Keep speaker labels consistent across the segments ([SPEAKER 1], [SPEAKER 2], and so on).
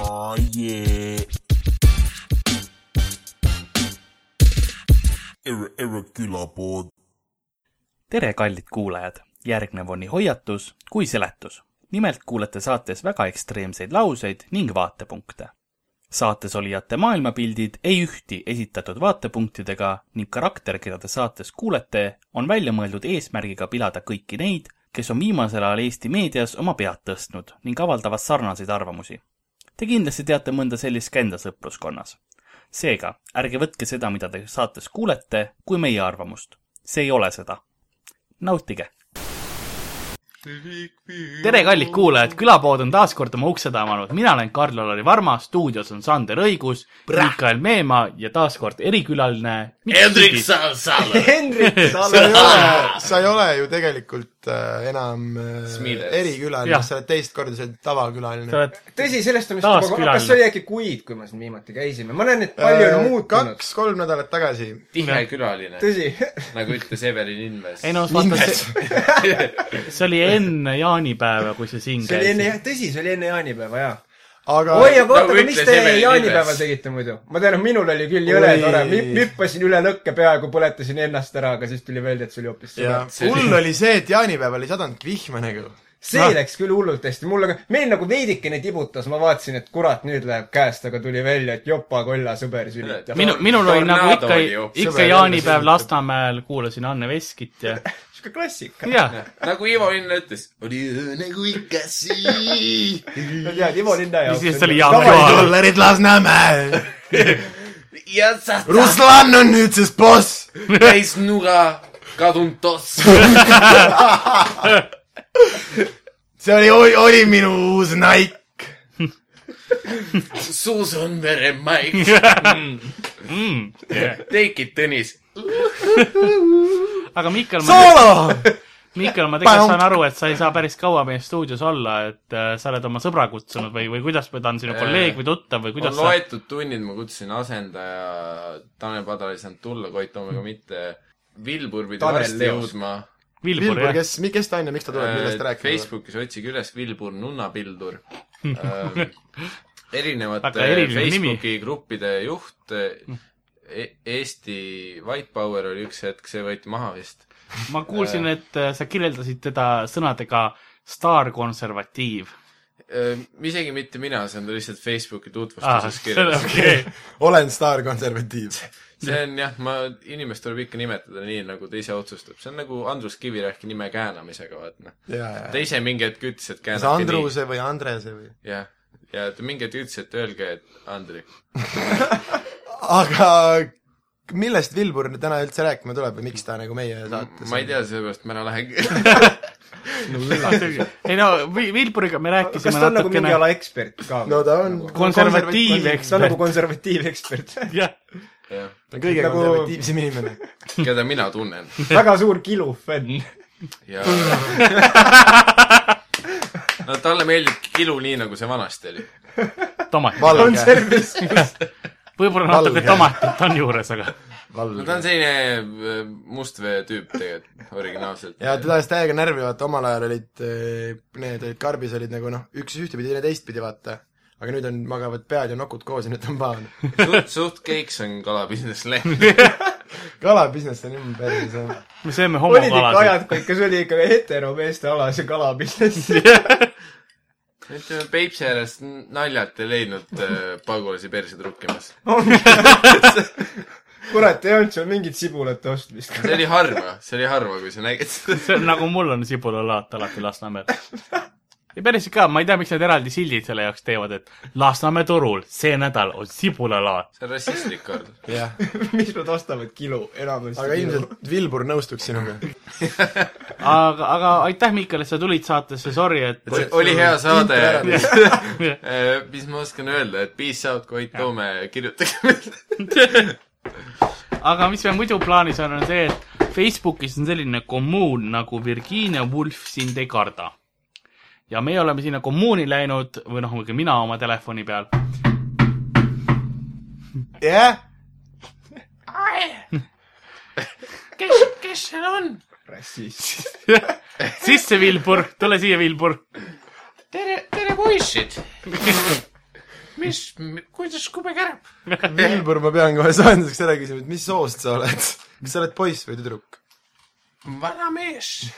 [SPEAKER 1] Oh yeah. Erre, erre külapood .
[SPEAKER 2] tere , kallid kuulajad! järgnev on nii hoiatus kui seletus . nimelt kuulete saates väga ekstreemseid lauseid ning vaatepunkte . saates olijate maailmapildid ei ühti esitatud vaatepunktidega ning karakter , keda te saates kuulete , on välja mõeldud eesmärgiga pilada kõiki neid , kes on viimasel ajal Eesti meedias oma pead tõstnud ning avaldavad sarnaseid arvamusi . Te kindlasti teate mõnda sellist ka enda sõpruskonnas seega ärge võtke seda , mida te saates kuulete , kui meie arvamust . see ei ole seda . nautige . tere , kallid kuulajad , külapood on taas kord oma uksed avanud , mina olen Karl-Alari Varma , stuudios on Sander Õigus , Mikael Meemaa ja taas kord erikülaline .
[SPEAKER 3] Hendrik Salsalu .
[SPEAKER 4] Hendrik , sa ei ole , sa ei ole ju tegelikult äh, enam
[SPEAKER 3] Smiles.
[SPEAKER 4] äh, erikülaline
[SPEAKER 2] Jah. ,
[SPEAKER 4] sa oled teist korda seal
[SPEAKER 2] sa
[SPEAKER 4] tavakülaline .
[SPEAKER 2] oled ,
[SPEAKER 5] tõsi , sellest on vist
[SPEAKER 2] Taas
[SPEAKER 5] juba ,
[SPEAKER 2] külaline.
[SPEAKER 5] kas see oli äkki kuid , kui me siin viimati käisime , ma näen , et palju on muutunud .
[SPEAKER 4] kaks-kolm Äh, nädalat tagasi .
[SPEAKER 3] tihe külaline ,
[SPEAKER 5] tõsi ,
[SPEAKER 3] nagu ütles Evelin Inves .
[SPEAKER 2] ei no vaata , see oli enne jaanipäeva , kui see siin
[SPEAKER 5] see oli enne
[SPEAKER 2] käis .,
[SPEAKER 5] tõsi , see oli enne jaanipäeva , jaa .
[SPEAKER 4] aga
[SPEAKER 5] oi , aga oota ,
[SPEAKER 3] nagu
[SPEAKER 5] aga mis
[SPEAKER 3] ütles
[SPEAKER 5] te
[SPEAKER 3] Evelyn
[SPEAKER 5] jaanipäeval
[SPEAKER 3] Ilves.
[SPEAKER 5] tegite muidu ? ma tean , et minul oli küll jõle
[SPEAKER 4] Oi.
[SPEAKER 5] tore , hüppasin üle lõkke peaaegu , põletasin ennast ära , aga siis tuli välja , et see oli hoopis
[SPEAKER 4] ja,
[SPEAKER 5] sõna .
[SPEAKER 3] see-
[SPEAKER 4] hull oli see , et jaanipäeval ei sadanudki vihma nagu .
[SPEAKER 5] see läks küll hullult hästi , mul aga , meil nagu veidikene tibutas , ma vaatasin , et kurat , nüüd läheb käest , aga tuli välja , et jopa kolla sõber sülitab .
[SPEAKER 2] minu , minul oli nagu
[SPEAKER 3] Tornado
[SPEAKER 2] ikka
[SPEAKER 3] oli ju. ,
[SPEAKER 2] ikka
[SPEAKER 4] Sõber-
[SPEAKER 2] jaanipäev Lasnamäel , kuulasin Anne Veskit ja ,
[SPEAKER 5] sihuke klassika .
[SPEAKER 2] ja
[SPEAKER 3] nagu Ivo Linn ütles , oli öö nagu ikka siin .
[SPEAKER 5] sa tead , Ivo Linna
[SPEAKER 2] ja
[SPEAKER 5] jaoks .
[SPEAKER 2] siis oli Jaan
[SPEAKER 4] Vabariigi
[SPEAKER 2] Joa .
[SPEAKER 4] dollarid Lasnamäel .
[SPEAKER 3] ja sa
[SPEAKER 4] Ruslan on nüüd siis boss .
[SPEAKER 3] täis nuga kadunud toss .
[SPEAKER 4] see oli , oli minu uus Nike .
[SPEAKER 3] suus on veremaik .
[SPEAKER 2] mm.
[SPEAKER 3] Take it , Tõnis .
[SPEAKER 2] aga Mihkel , ma ,
[SPEAKER 4] soolo .
[SPEAKER 2] Mihkel , ma tegelikult
[SPEAKER 4] Paum!
[SPEAKER 2] saan aru , et sa ei saa päris kaua meie stuudios olla , et äh, sa oled oma sõbra kutsunud või , või kuidas , või ta on sinu
[SPEAKER 3] Äh,
[SPEAKER 2] kolleeg või tuttav või
[SPEAKER 3] on
[SPEAKER 2] kuidas sa ,
[SPEAKER 3] loetud tunnid , ma kutsusin asendaja , Tanel Padar ei saanud tulla , Koit Toomega mitte . Vilbur pidi
[SPEAKER 5] Tanel
[SPEAKER 3] varsti
[SPEAKER 5] Leos.
[SPEAKER 3] jõudma
[SPEAKER 2] Vilbur ,
[SPEAKER 4] Vilbur ,
[SPEAKER 2] jah ?
[SPEAKER 4] kes , kes ta on ja miks ta tuleb , millest ta
[SPEAKER 3] Äh,
[SPEAKER 4] rääkis ?
[SPEAKER 3] Facebookis otsige üles Vilbur nunnapildur Ähm, erinevate
[SPEAKER 2] Väga eriline
[SPEAKER 3] Facebooki gruppide juht e , Eesti White Power oli üks hetk , see võeti maha vist .
[SPEAKER 2] ma kuulsin , et äh, sa kirjeldasid teda sõnadega staarkonservatiiv .
[SPEAKER 3] Ähm, isegi mitte mina , see on lihtsalt Facebooki tutvustuses kirjas .
[SPEAKER 2] Ah, okei ,
[SPEAKER 4] olen staarkonservatiiv .
[SPEAKER 3] see on jah , ma , inimest tuleb ikka nimetada nii , nagu ta ise otsustab , see on nagu Andrus Kivirähki nime käänamisega , vaat noh .
[SPEAKER 4] ja ,
[SPEAKER 3] ta
[SPEAKER 4] ja .
[SPEAKER 3] ise mingi hetk ütles , et
[SPEAKER 4] kas
[SPEAKER 3] käänabki nii .
[SPEAKER 4] Andruse või Andrese või ?
[SPEAKER 3] jah , ja ta mingi hetk ütles , et öelge , et Andrik .
[SPEAKER 4] aga millest Vilbur nüüd täna üldse rääkima tuleb või miks ta nagu meie saates
[SPEAKER 3] ma ei tea , sellepärast ma ära lähengi .
[SPEAKER 2] ei no , Vilburiga me
[SPEAKER 5] kas
[SPEAKER 2] rääkisime
[SPEAKER 5] ta on nagu mingi
[SPEAKER 2] natukene
[SPEAKER 5] ala ekspert ka
[SPEAKER 4] no ? ta on
[SPEAKER 3] Nagu
[SPEAKER 2] konservatiiv , eks
[SPEAKER 5] ta on nagu . konservatiivekspert .
[SPEAKER 2] jah ,
[SPEAKER 3] jah ,
[SPEAKER 4] ta on kõige
[SPEAKER 5] Nagu-
[SPEAKER 4] nagu... konservatiivsem inimene .
[SPEAKER 3] keda mina tunnen
[SPEAKER 5] väga suur Kilu fänn .
[SPEAKER 3] ja no talle meeldib kilu nii , nagu see vanasti oli .
[SPEAKER 2] tomat ,
[SPEAKER 4] valge ,
[SPEAKER 5] konservismis .
[SPEAKER 2] võib-olla natuke
[SPEAKER 4] valge.
[SPEAKER 2] tomatit on juures , aga
[SPEAKER 3] no ta
[SPEAKER 4] valge .
[SPEAKER 3] on selline äh, mustvee tüüp tegelikult , originaalselt .
[SPEAKER 4] ja teda ajas täiega närvi , vaata omal ajal olid , need olid karbis olid nagu noh , üks ühtepidi , teine teistpidi , vaata . aga nüüd on , magavad pead ja nokud koos ja nüüd on paan .
[SPEAKER 3] suht , suht keiks on kalabusiness läinud .
[SPEAKER 4] kalabusiness on jumala päris jah .
[SPEAKER 2] me sööme
[SPEAKER 5] olid ikka
[SPEAKER 2] homokalasid .
[SPEAKER 5] ajad , kui ikka see oli ikka heteromeeste ala , see kalabusiness .
[SPEAKER 3] ütleme , Peipsi ääres n- naljalt ei leidnud äh, pagulasi perse trukkimas .
[SPEAKER 5] kurat , ei olnud seal mingit sibulate ostmist .
[SPEAKER 3] see oli harva , see oli harva , kui sa nägid seda .
[SPEAKER 2] see on nagu mul on sibulalaat alati Lasnamäel . ja päriselt ka , ma ei tea , miks nad eraldi sildid selle jaoks teevad , et Lasnamäe turul see nädal on sibulalaat .
[SPEAKER 3] see on rassistlik kord .
[SPEAKER 4] jah ,
[SPEAKER 5] mis nad ostavad , kilu , enamasti
[SPEAKER 4] aga
[SPEAKER 5] kilu .
[SPEAKER 4] ilmselt Vilbur nõustuks sinuga .
[SPEAKER 2] aga , aga aitäh , Mihkel , et sa tulid saatesse , sorry , et
[SPEAKER 3] oli hea saade äh,
[SPEAKER 4] Inter- .
[SPEAKER 3] mis ma oskan öelda , et peace out , Koit Toome , kirjutage meile .
[SPEAKER 2] aga mis meil muidu plaanis on , on see , et Facebookis on selline kommuun nagu Virginia Woolf sind ei karda . ja meie oleme sinna kommuuni läinud või noh , muidugi mina oma telefoni peal
[SPEAKER 4] jah ,
[SPEAKER 5] rassist .
[SPEAKER 2] sisse , Vilbur , tule siia , Vilbur .
[SPEAKER 3] tere , tere poissid .
[SPEAKER 6] mis , kuidas kubekäärm ?
[SPEAKER 4] Vilbur , ma pean kohe soojenduseks ära küsima , et mis soost sa oled ? kas sa oled poiss või tüdruk ?
[SPEAKER 6] vana mees .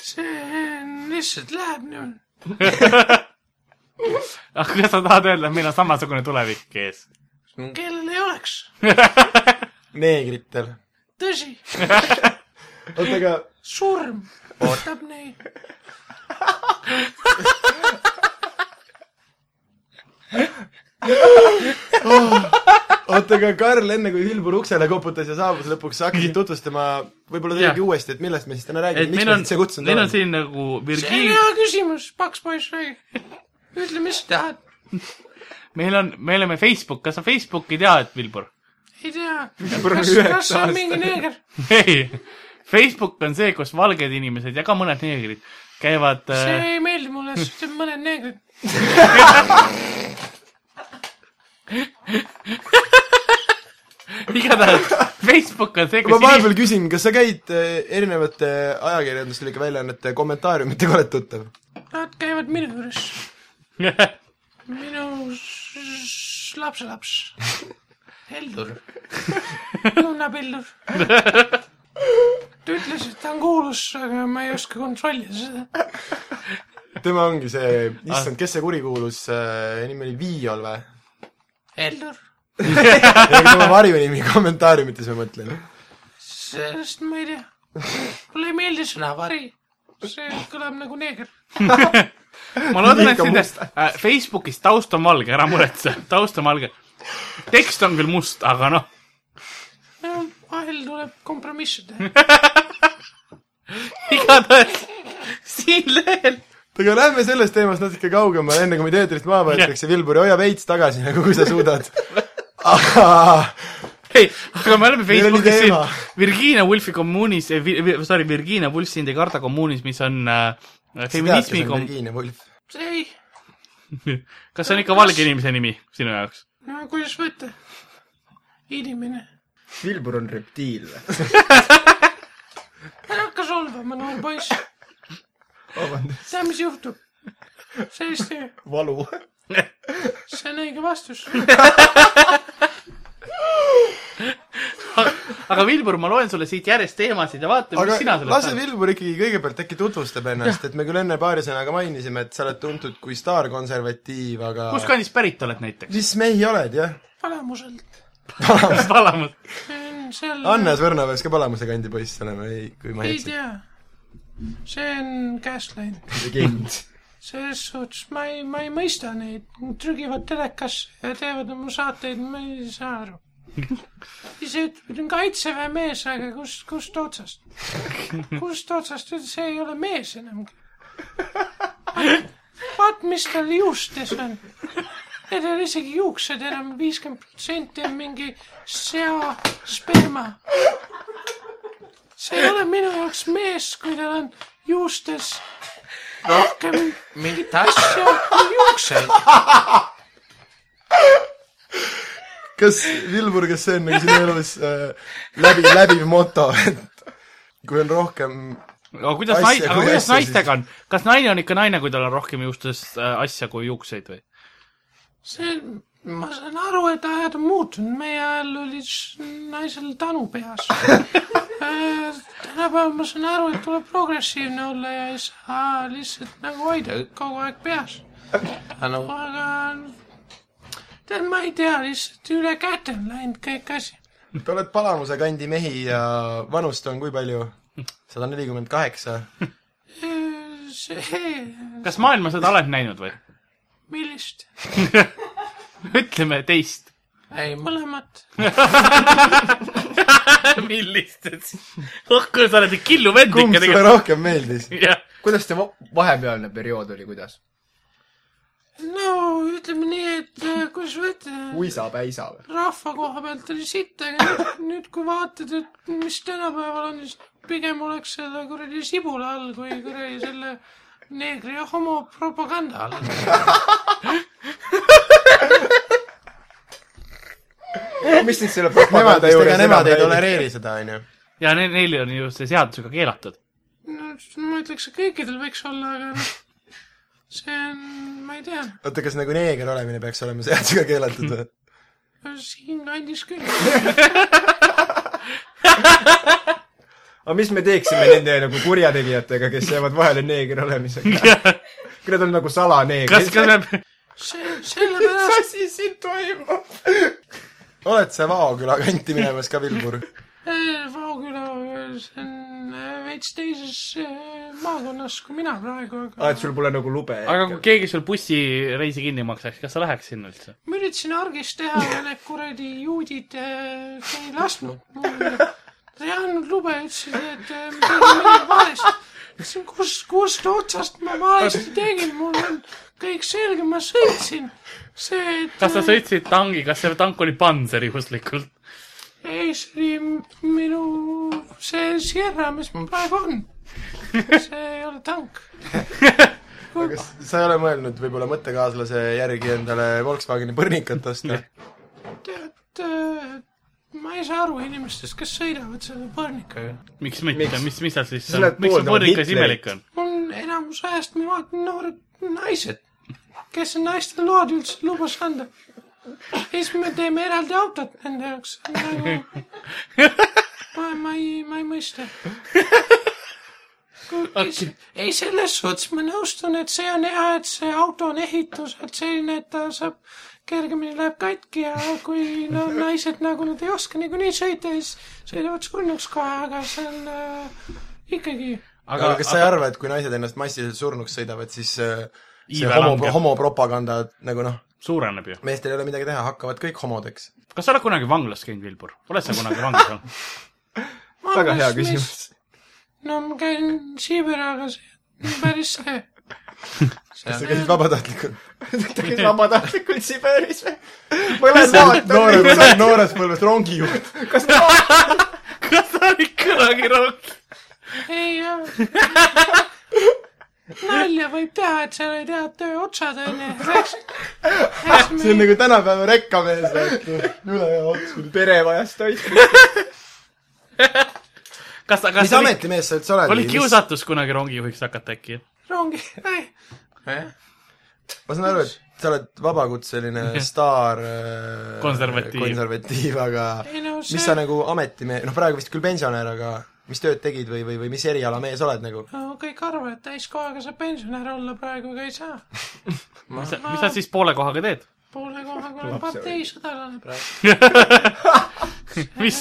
[SPEAKER 6] see lihtsalt läheb nii .
[SPEAKER 2] aga kas sa tahad öelda , et meil on samasugune tulevik ees ?
[SPEAKER 7] Mm.
[SPEAKER 6] kellel ei oleks ,
[SPEAKER 4] neegritel .
[SPEAKER 6] tõsi ,
[SPEAKER 4] oota , aga
[SPEAKER 6] surm ootab neid .
[SPEAKER 4] oota , aga Oh, Karl , enne kui Vilbur uksele koputas ja saabus lõpuks , sa hakkasid tutvustama võib-olla
[SPEAKER 2] Jah.
[SPEAKER 4] tegelikult uuesti , et millest me siis täna
[SPEAKER 2] et
[SPEAKER 4] räägime , miks
[SPEAKER 2] meil
[SPEAKER 4] me
[SPEAKER 2] on
[SPEAKER 4] sind siia , kutsunud
[SPEAKER 2] meil on
[SPEAKER 4] oleme .
[SPEAKER 2] siin nagu
[SPEAKER 6] see on
[SPEAKER 2] Virgiin ,
[SPEAKER 6] hea küsimus , paks poiss või ? ütle , mis sa tahad .
[SPEAKER 2] meil on , me oleme Facebook , kas sa Facebooki tead , Vilbur ?
[SPEAKER 6] ei tea ,
[SPEAKER 5] on
[SPEAKER 6] kas ,
[SPEAKER 5] üheksa
[SPEAKER 6] kas on
[SPEAKER 5] aastane.
[SPEAKER 6] mingi neeger ?
[SPEAKER 2] ei , Facebook on see , kus valged inimesed ja ka mõned neegrid käivad
[SPEAKER 6] see
[SPEAKER 2] äh, ,
[SPEAKER 6] ei meeldi mulle , sest on mõned neegrid .
[SPEAKER 2] igatahes Facebook on see ,
[SPEAKER 4] ma
[SPEAKER 2] kus inimesed
[SPEAKER 4] vahepeal küsin , kas sa käid eh, erinevate ajakirjanduslike väljaannete kommentaariumitega , oled tuttav ?
[SPEAKER 6] Nad käivad minu juures , minu s- lapselaps , Heldur , nunnapildur . ta ütles , et ta on kuulus , aga ma ei oska kontrollida seda .
[SPEAKER 4] tema ongi see , issand , kes see kurikuulus äh, , nimi oli Viiol või ?
[SPEAKER 6] Heldur ,
[SPEAKER 4] tema varjunimi kommentaariumites ma mõtlen .
[SPEAKER 6] sellest ma ei tea . mulle ei meeldi sõna vari , see kõlab nagu neeger .
[SPEAKER 2] ma loodan , et
[SPEAKER 4] Liiga
[SPEAKER 2] sellest äh, Facebookis taust on valge , ära muretse , taust on valge . tekst on küll must , aga noh ,
[SPEAKER 6] no vahel tuleb kompromisse teha .
[SPEAKER 2] igatahes siin lehel
[SPEAKER 4] aga lähme sellest teemast natuke kaugemale , enne kui meid eetrist maha võetakse , Vilburi , hoia veits tagasi nagu kui sa suudad . aga
[SPEAKER 2] ei , aga me oleme
[SPEAKER 4] Meil oli
[SPEAKER 2] Facebookis siin
[SPEAKER 4] teema.
[SPEAKER 2] Virginia Woolfi kommuunis , sorry , Virginia Woolf sind ei karda kommuunis , mis on äh, feminismi kom- ,
[SPEAKER 4] Virginia Woolf .
[SPEAKER 6] ei ,
[SPEAKER 2] kas see on ikka valge inimese nimi sinu jaoks ?
[SPEAKER 6] no kuidas võtta , inimene
[SPEAKER 5] Vilbur on reptiil või ?
[SPEAKER 6] ära hakka solvama , noor poiss . tea , mis juhtub ? sellist ,
[SPEAKER 5] valu .
[SPEAKER 6] see on õige vastus .
[SPEAKER 2] aga Vilbur , ma loen sulle siit järjest teemasid ja vaatame ,
[SPEAKER 4] aga
[SPEAKER 2] mis sina
[SPEAKER 4] lase
[SPEAKER 2] sellest arvad .
[SPEAKER 4] Vilbur ikkagi kõigepealt äkki tutvustab ennast , et me küll enne paari sõnaga mainisime , et sa oled tuntud kui staarkonservatiiv , aga
[SPEAKER 2] kus kandist pärit oled näiteks ?
[SPEAKER 4] mis mehi oled , jah ?
[SPEAKER 6] Palamuselt .
[SPEAKER 2] Palamut .
[SPEAKER 6] seal .
[SPEAKER 5] Oh,
[SPEAKER 4] Hannes Võrno peaks ka Palamuse kandi poiss olema , ei , kui ma ei
[SPEAKER 6] ei
[SPEAKER 4] eksi .
[SPEAKER 6] tea . see on käest läinud .
[SPEAKER 5] legend .
[SPEAKER 6] selles suhtes ma ei , ma ei mõista neid . trügivad telekasse ja teevad oma saateid , ma ei saa aru . ise ütleb , et on kaitseväe mees , aga kust , kust otsast ? kust otsast , see ei ole mees enam . vaat , mis tal juustes on . Need ei ole isegi juuksed enam , viiskümmend protsenti on mingi sea sperma . see ei ole minu jaoks mees , kui tal on juustes rohkem mingit asja kui juukseid .
[SPEAKER 4] kas , Vilbur , kas see on nagu sinu elus äh, läbi , läbiv moto , et kui on rohkem
[SPEAKER 2] aga kuidas
[SPEAKER 4] Asja
[SPEAKER 2] nais- , aga
[SPEAKER 4] kui
[SPEAKER 2] kuidas
[SPEAKER 4] asja
[SPEAKER 2] naistega on ? kas naine on ikka naine , kui tal on rohkem juustest äh, asja kui juukseid või ?
[SPEAKER 6] see , ma saan aru , et ajad on muutunud , meie ajal oli s- naisel tanu peas . tänapäeval ma saan aru , et tuleb progressiivne olla ja ei saa lihtsalt nagu hoida kogu aeg peas . aga tead , ma ei tea , lihtsalt üle käte on läinud kõik asi .
[SPEAKER 4] te oled Palamuse kandi mehi ja vanust on kui palju ? sada nelikümmend kaheksa .
[SPEAKER 6] see ,
[SPEAKER 2] kas maailma seda oled näinud või ?
[SPEAKER 6] millist ?
[SPEAKER 2] ütleme teist .
[SPEAKER 6] ei , mõlemat .
[SPEAKER 2] millist , et oh , kui sa oled killu vend
[SPEAKER 4] kumb
[SPEAKER 2] ikka
[SPEAKER 4] sulle
[SPEAKER 2] tegelikult .
[SPEAKER 4] rohkem meeldis ?
[SPEAKER 2] jah ,
[SPEAKER 5] kuidas see va- vahepealne periood oli , kuidas ?
[SPEAKER 6] no ütleme nii , et äh, kuidas võtta
[SPEAKER 5] uisapäisa või ?
[SPEAKER 6] rahva koha pealt oli sitt , aga nüüd, nüüd kui vaatad , et mis tänapäeval on , siis pigem oleks selle kuradi sibula all kui kuradi selle neegri ja homopropaganda all .
[SPEAKER 5] mis nüüd selle
[SPEAKER 4] Nemad
[SPEAKER 5] propaganda
[SPEAKER 4] vist ,
[SPEAKER 5] juures
[SPEAKER 4] ega nemad ei
[SPEAKER 5] enam räägib?
[SPEAKER 4] tolereeri seda , onju .
[SPEAKER 2] ja ne- neil on ju see seadusega keelatud .
[SPEAKER 6] no ma ütleks , et kõikidel võiks olla , aga noh , see on , ma ei ei tea ,
[SPEAKER 4] oota , kas nagu neeger olemine peaks olema seadusega keelatud või ?
[SPEAKER 6] siinkandis küll .
[SPEAKER 5] aga mis me teeksime nende nagu kurjategijatega , kes jäävad vahele neegri olemisega ? kui nad on nagu
[SPEAKER 2] kas ,
[SPEAKER 5] salaneegrid .
[SPEAKER 2] kas me ,
[SPEAKER 6] see , sellepärast ,
[SPEAKER 5] asi siin toimub ?
[SPEAKER 4] oled sa Vaoküla kanti minemas ka , Vilbur ?
[SPEAKER 6] Vaoküla , see on äh, veits teises äh, maakonnas kui mina praegu ,
[SPEAKER 5] aa ,
[SPEAKER 6] aga
[SPEAKER 5] et sul pole nagu lube ?
[SPEAKER 2] aga kui keegi sul bussireisi kinni maksaks , kas sa läheks sinna üldse ?
[SPEAKER 6] ma üritasin argist teha ja need kuradi juudid äh, ei lasknud mul . Nad ei andnud lube , ütlesid , et äh, ma tegin midagi valesti . ütlesin , kus , kust otsast ma valesti tegin , mul on kõik selge , ma sõitsin . see , et äh,
[SPEAKER 2] kas sa sõitsid tangi , kas see tank oli panser juhuslikult ?
[SPEAKER 6] ei , see oli minu , see Sierra , mis mul praegu on . see ei ole tank .
[SPEAKER 4] kas sa ei ole mõelnud võib-olla mõttekaaslase järgi endale Volkswageni põrnikat osta ?
[SPEAKER 6] tead , ma ei saa aru inimestest , kes sõidavad selle põrnikaga .
[SPEAKER 2] miks mitte , mis , mis seal siis
[SPEAKER 5] Sa lähed ,
[SPEAKER 2] miks see
[SPEAKER 5] pooldama
[SPEAKER 2] põrnikas
[SPEAKER 5] Hitlerit.
[SPEAKER 2] imelik on ?
[SPEAKER 6] mul enamus ajast ma vaatan noored naised , kes on naistele load üldse lubas anda . ja siis me teeme eraldi autot nende jaoks , nagu ma , ma ei , ma ei mõista . ei , selles suhtes ma nõustun , et see on hea , et see auto on ehituselt selline , et ta saab , kergemini läheb katki ja kui no naised nagu nad ei oska niikuinii sõita , siis sõidavad surnuks kohe , aga see on äh, ikkagi
[SPEAKER 4] aga kas sa ei arva , et kui naised ennast massiliselt surnuks sõidavad , siis äh, see
[SPEAKER 2] Iive
[SPEAKER 4] homo ,
[SPEAKER 2] langeb.
[SPEAKER 4] homopropaganda nagu noh ,
[SPEAKER 2] suureneb ju .
[SPEAKER 4] meestel ei ole midagi teha , hakkavad kõik homodeks .
[SPEAKER 2] kas sa oled kunagi vanglas käinud , Vilbur ? oled sa kunagi vanglas olnud ?
[SPEAKER 5] väga hea
[SPEAKER 6] Vanglas, mis-
[SPEAKER 5] küsimus .
[SPEAKER 6] no ma käin Siiberiaga , see on päris see .
[SPEAKER 4] kas sa käisid vabatahtlikult ?
[SPEAKER 5] ta käis vabatahtlikult Siberis või ? ma lähen
[SPEAKER 4] noore ,
[SPEAKER 5] vaatan ,
[SPEAKER 4] noorest põlvest rongijuht .
[SPEAKER 2] kas sa olid kunagi rong- ?
[SPEAKER 6] ei jah . nalja võib teha , et seal ei tea tööotsad onju .
[SPEAKER 4] see on nagu tänapäeva rekkamees , et üle ja ots .
[SPEAKER 5] pere vajas toitu .
[SPEAKER 2] kas , kas
[SPEAKER 4] mis
[SPEAKER 2] oli,
[SPEAKER 4] ametimees sa üldse oled ?
[SPEAKER 2] oli ? kiusatus kunagi rongijuhiks hakata äkki ?
[SPEAKER 6] rongi , ei ,
[SPEAKER 7] eh?
[SPEAKER 4] ma saan aru , et sa oled vabakutseline staar äh,
[SPEAKER 2] Konservatiiv.
[SPEAKER 4] konservatiiv , aga
[SPEAKER 6] Ei no see-
[SPEAKER 4] mis sa nagu ametimees , noh praegu vist küll pensionär , aga mis tööd tegid või , või , või mis eriala mees oled nagu ?
[SPEAKER 6] no kõik arvavad , et täiskohaga saab pensionär olla , praegu aga ei saa .
[SPEAKER 2] mis sa , mis sa siis poole kohaga teed ?
[SPEAKER 6] poole kohaga olen parteisõdalane praegu .
[SPEAKER 2] mis ,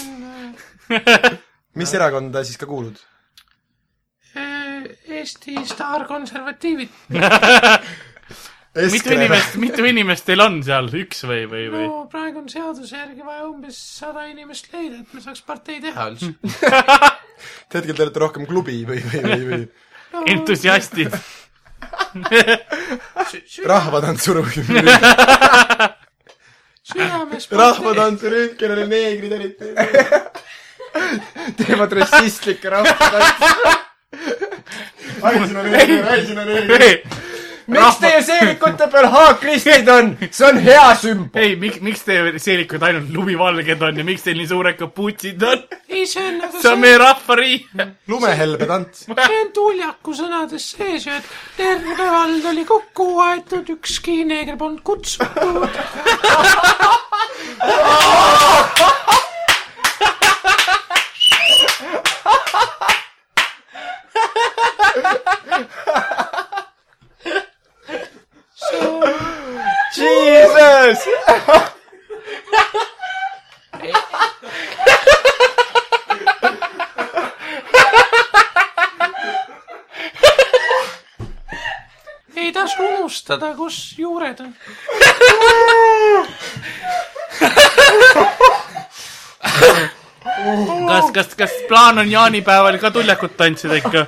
[SPEAKER 4] mis erakonda siis ka kuulud ?
[SPEAKER 6] Äh, Eesti staarkonservatiivid .
[SPEAKER 2] mitu inimest , mitu inimest teil on seal , üks või , või , või ?
[SPEAKER 6] no praegu on seaduse järgi vaja umbes sada inimest leida , et me saaks partei teha üldse .
[SPEAKER 4] hetkel te olete rohkem klubi või , või , või , või
[SPEAKER 2] entusiastid .
[SPEAKER 4] rahvatantsurühm ,
[SPEAKER 6] südames .
[SPEAKER 4] rahvatantsurühm , kellel on neegrid eriti .
[SPEAKER 5] teevad rassistlikke rahvast .
[SPEAKER 4] ai , siin on neegrid , ai , siin on neegrid .
[SPEAKER 5] miks teie seelikute peal haakristid on ? see on hea sümbol .
[SPEAKER 2] ei , miks , miks te seelikud ainult lumivalged on ja miks teil nii suured kaputsid on ?
[SPEAKER 6] ei , see on nagu
[SPEAKER 2] see on meie rahvariik .
[SPEAKER 4] lumehelbe tants .
[SPEAKER 6] see on Tuljaku sõnades sees ju , et terve vald oli kokku aetud , ükski neeger polnud kutsutud .
[SPEAKER 5] Jesus .
[SPEAKER 6] ei tasu unustada , kus juured on .
[SPEAKER 2] kas , kas , kas plaan on jaanipäeval ka tuljakut tantsida ikka ?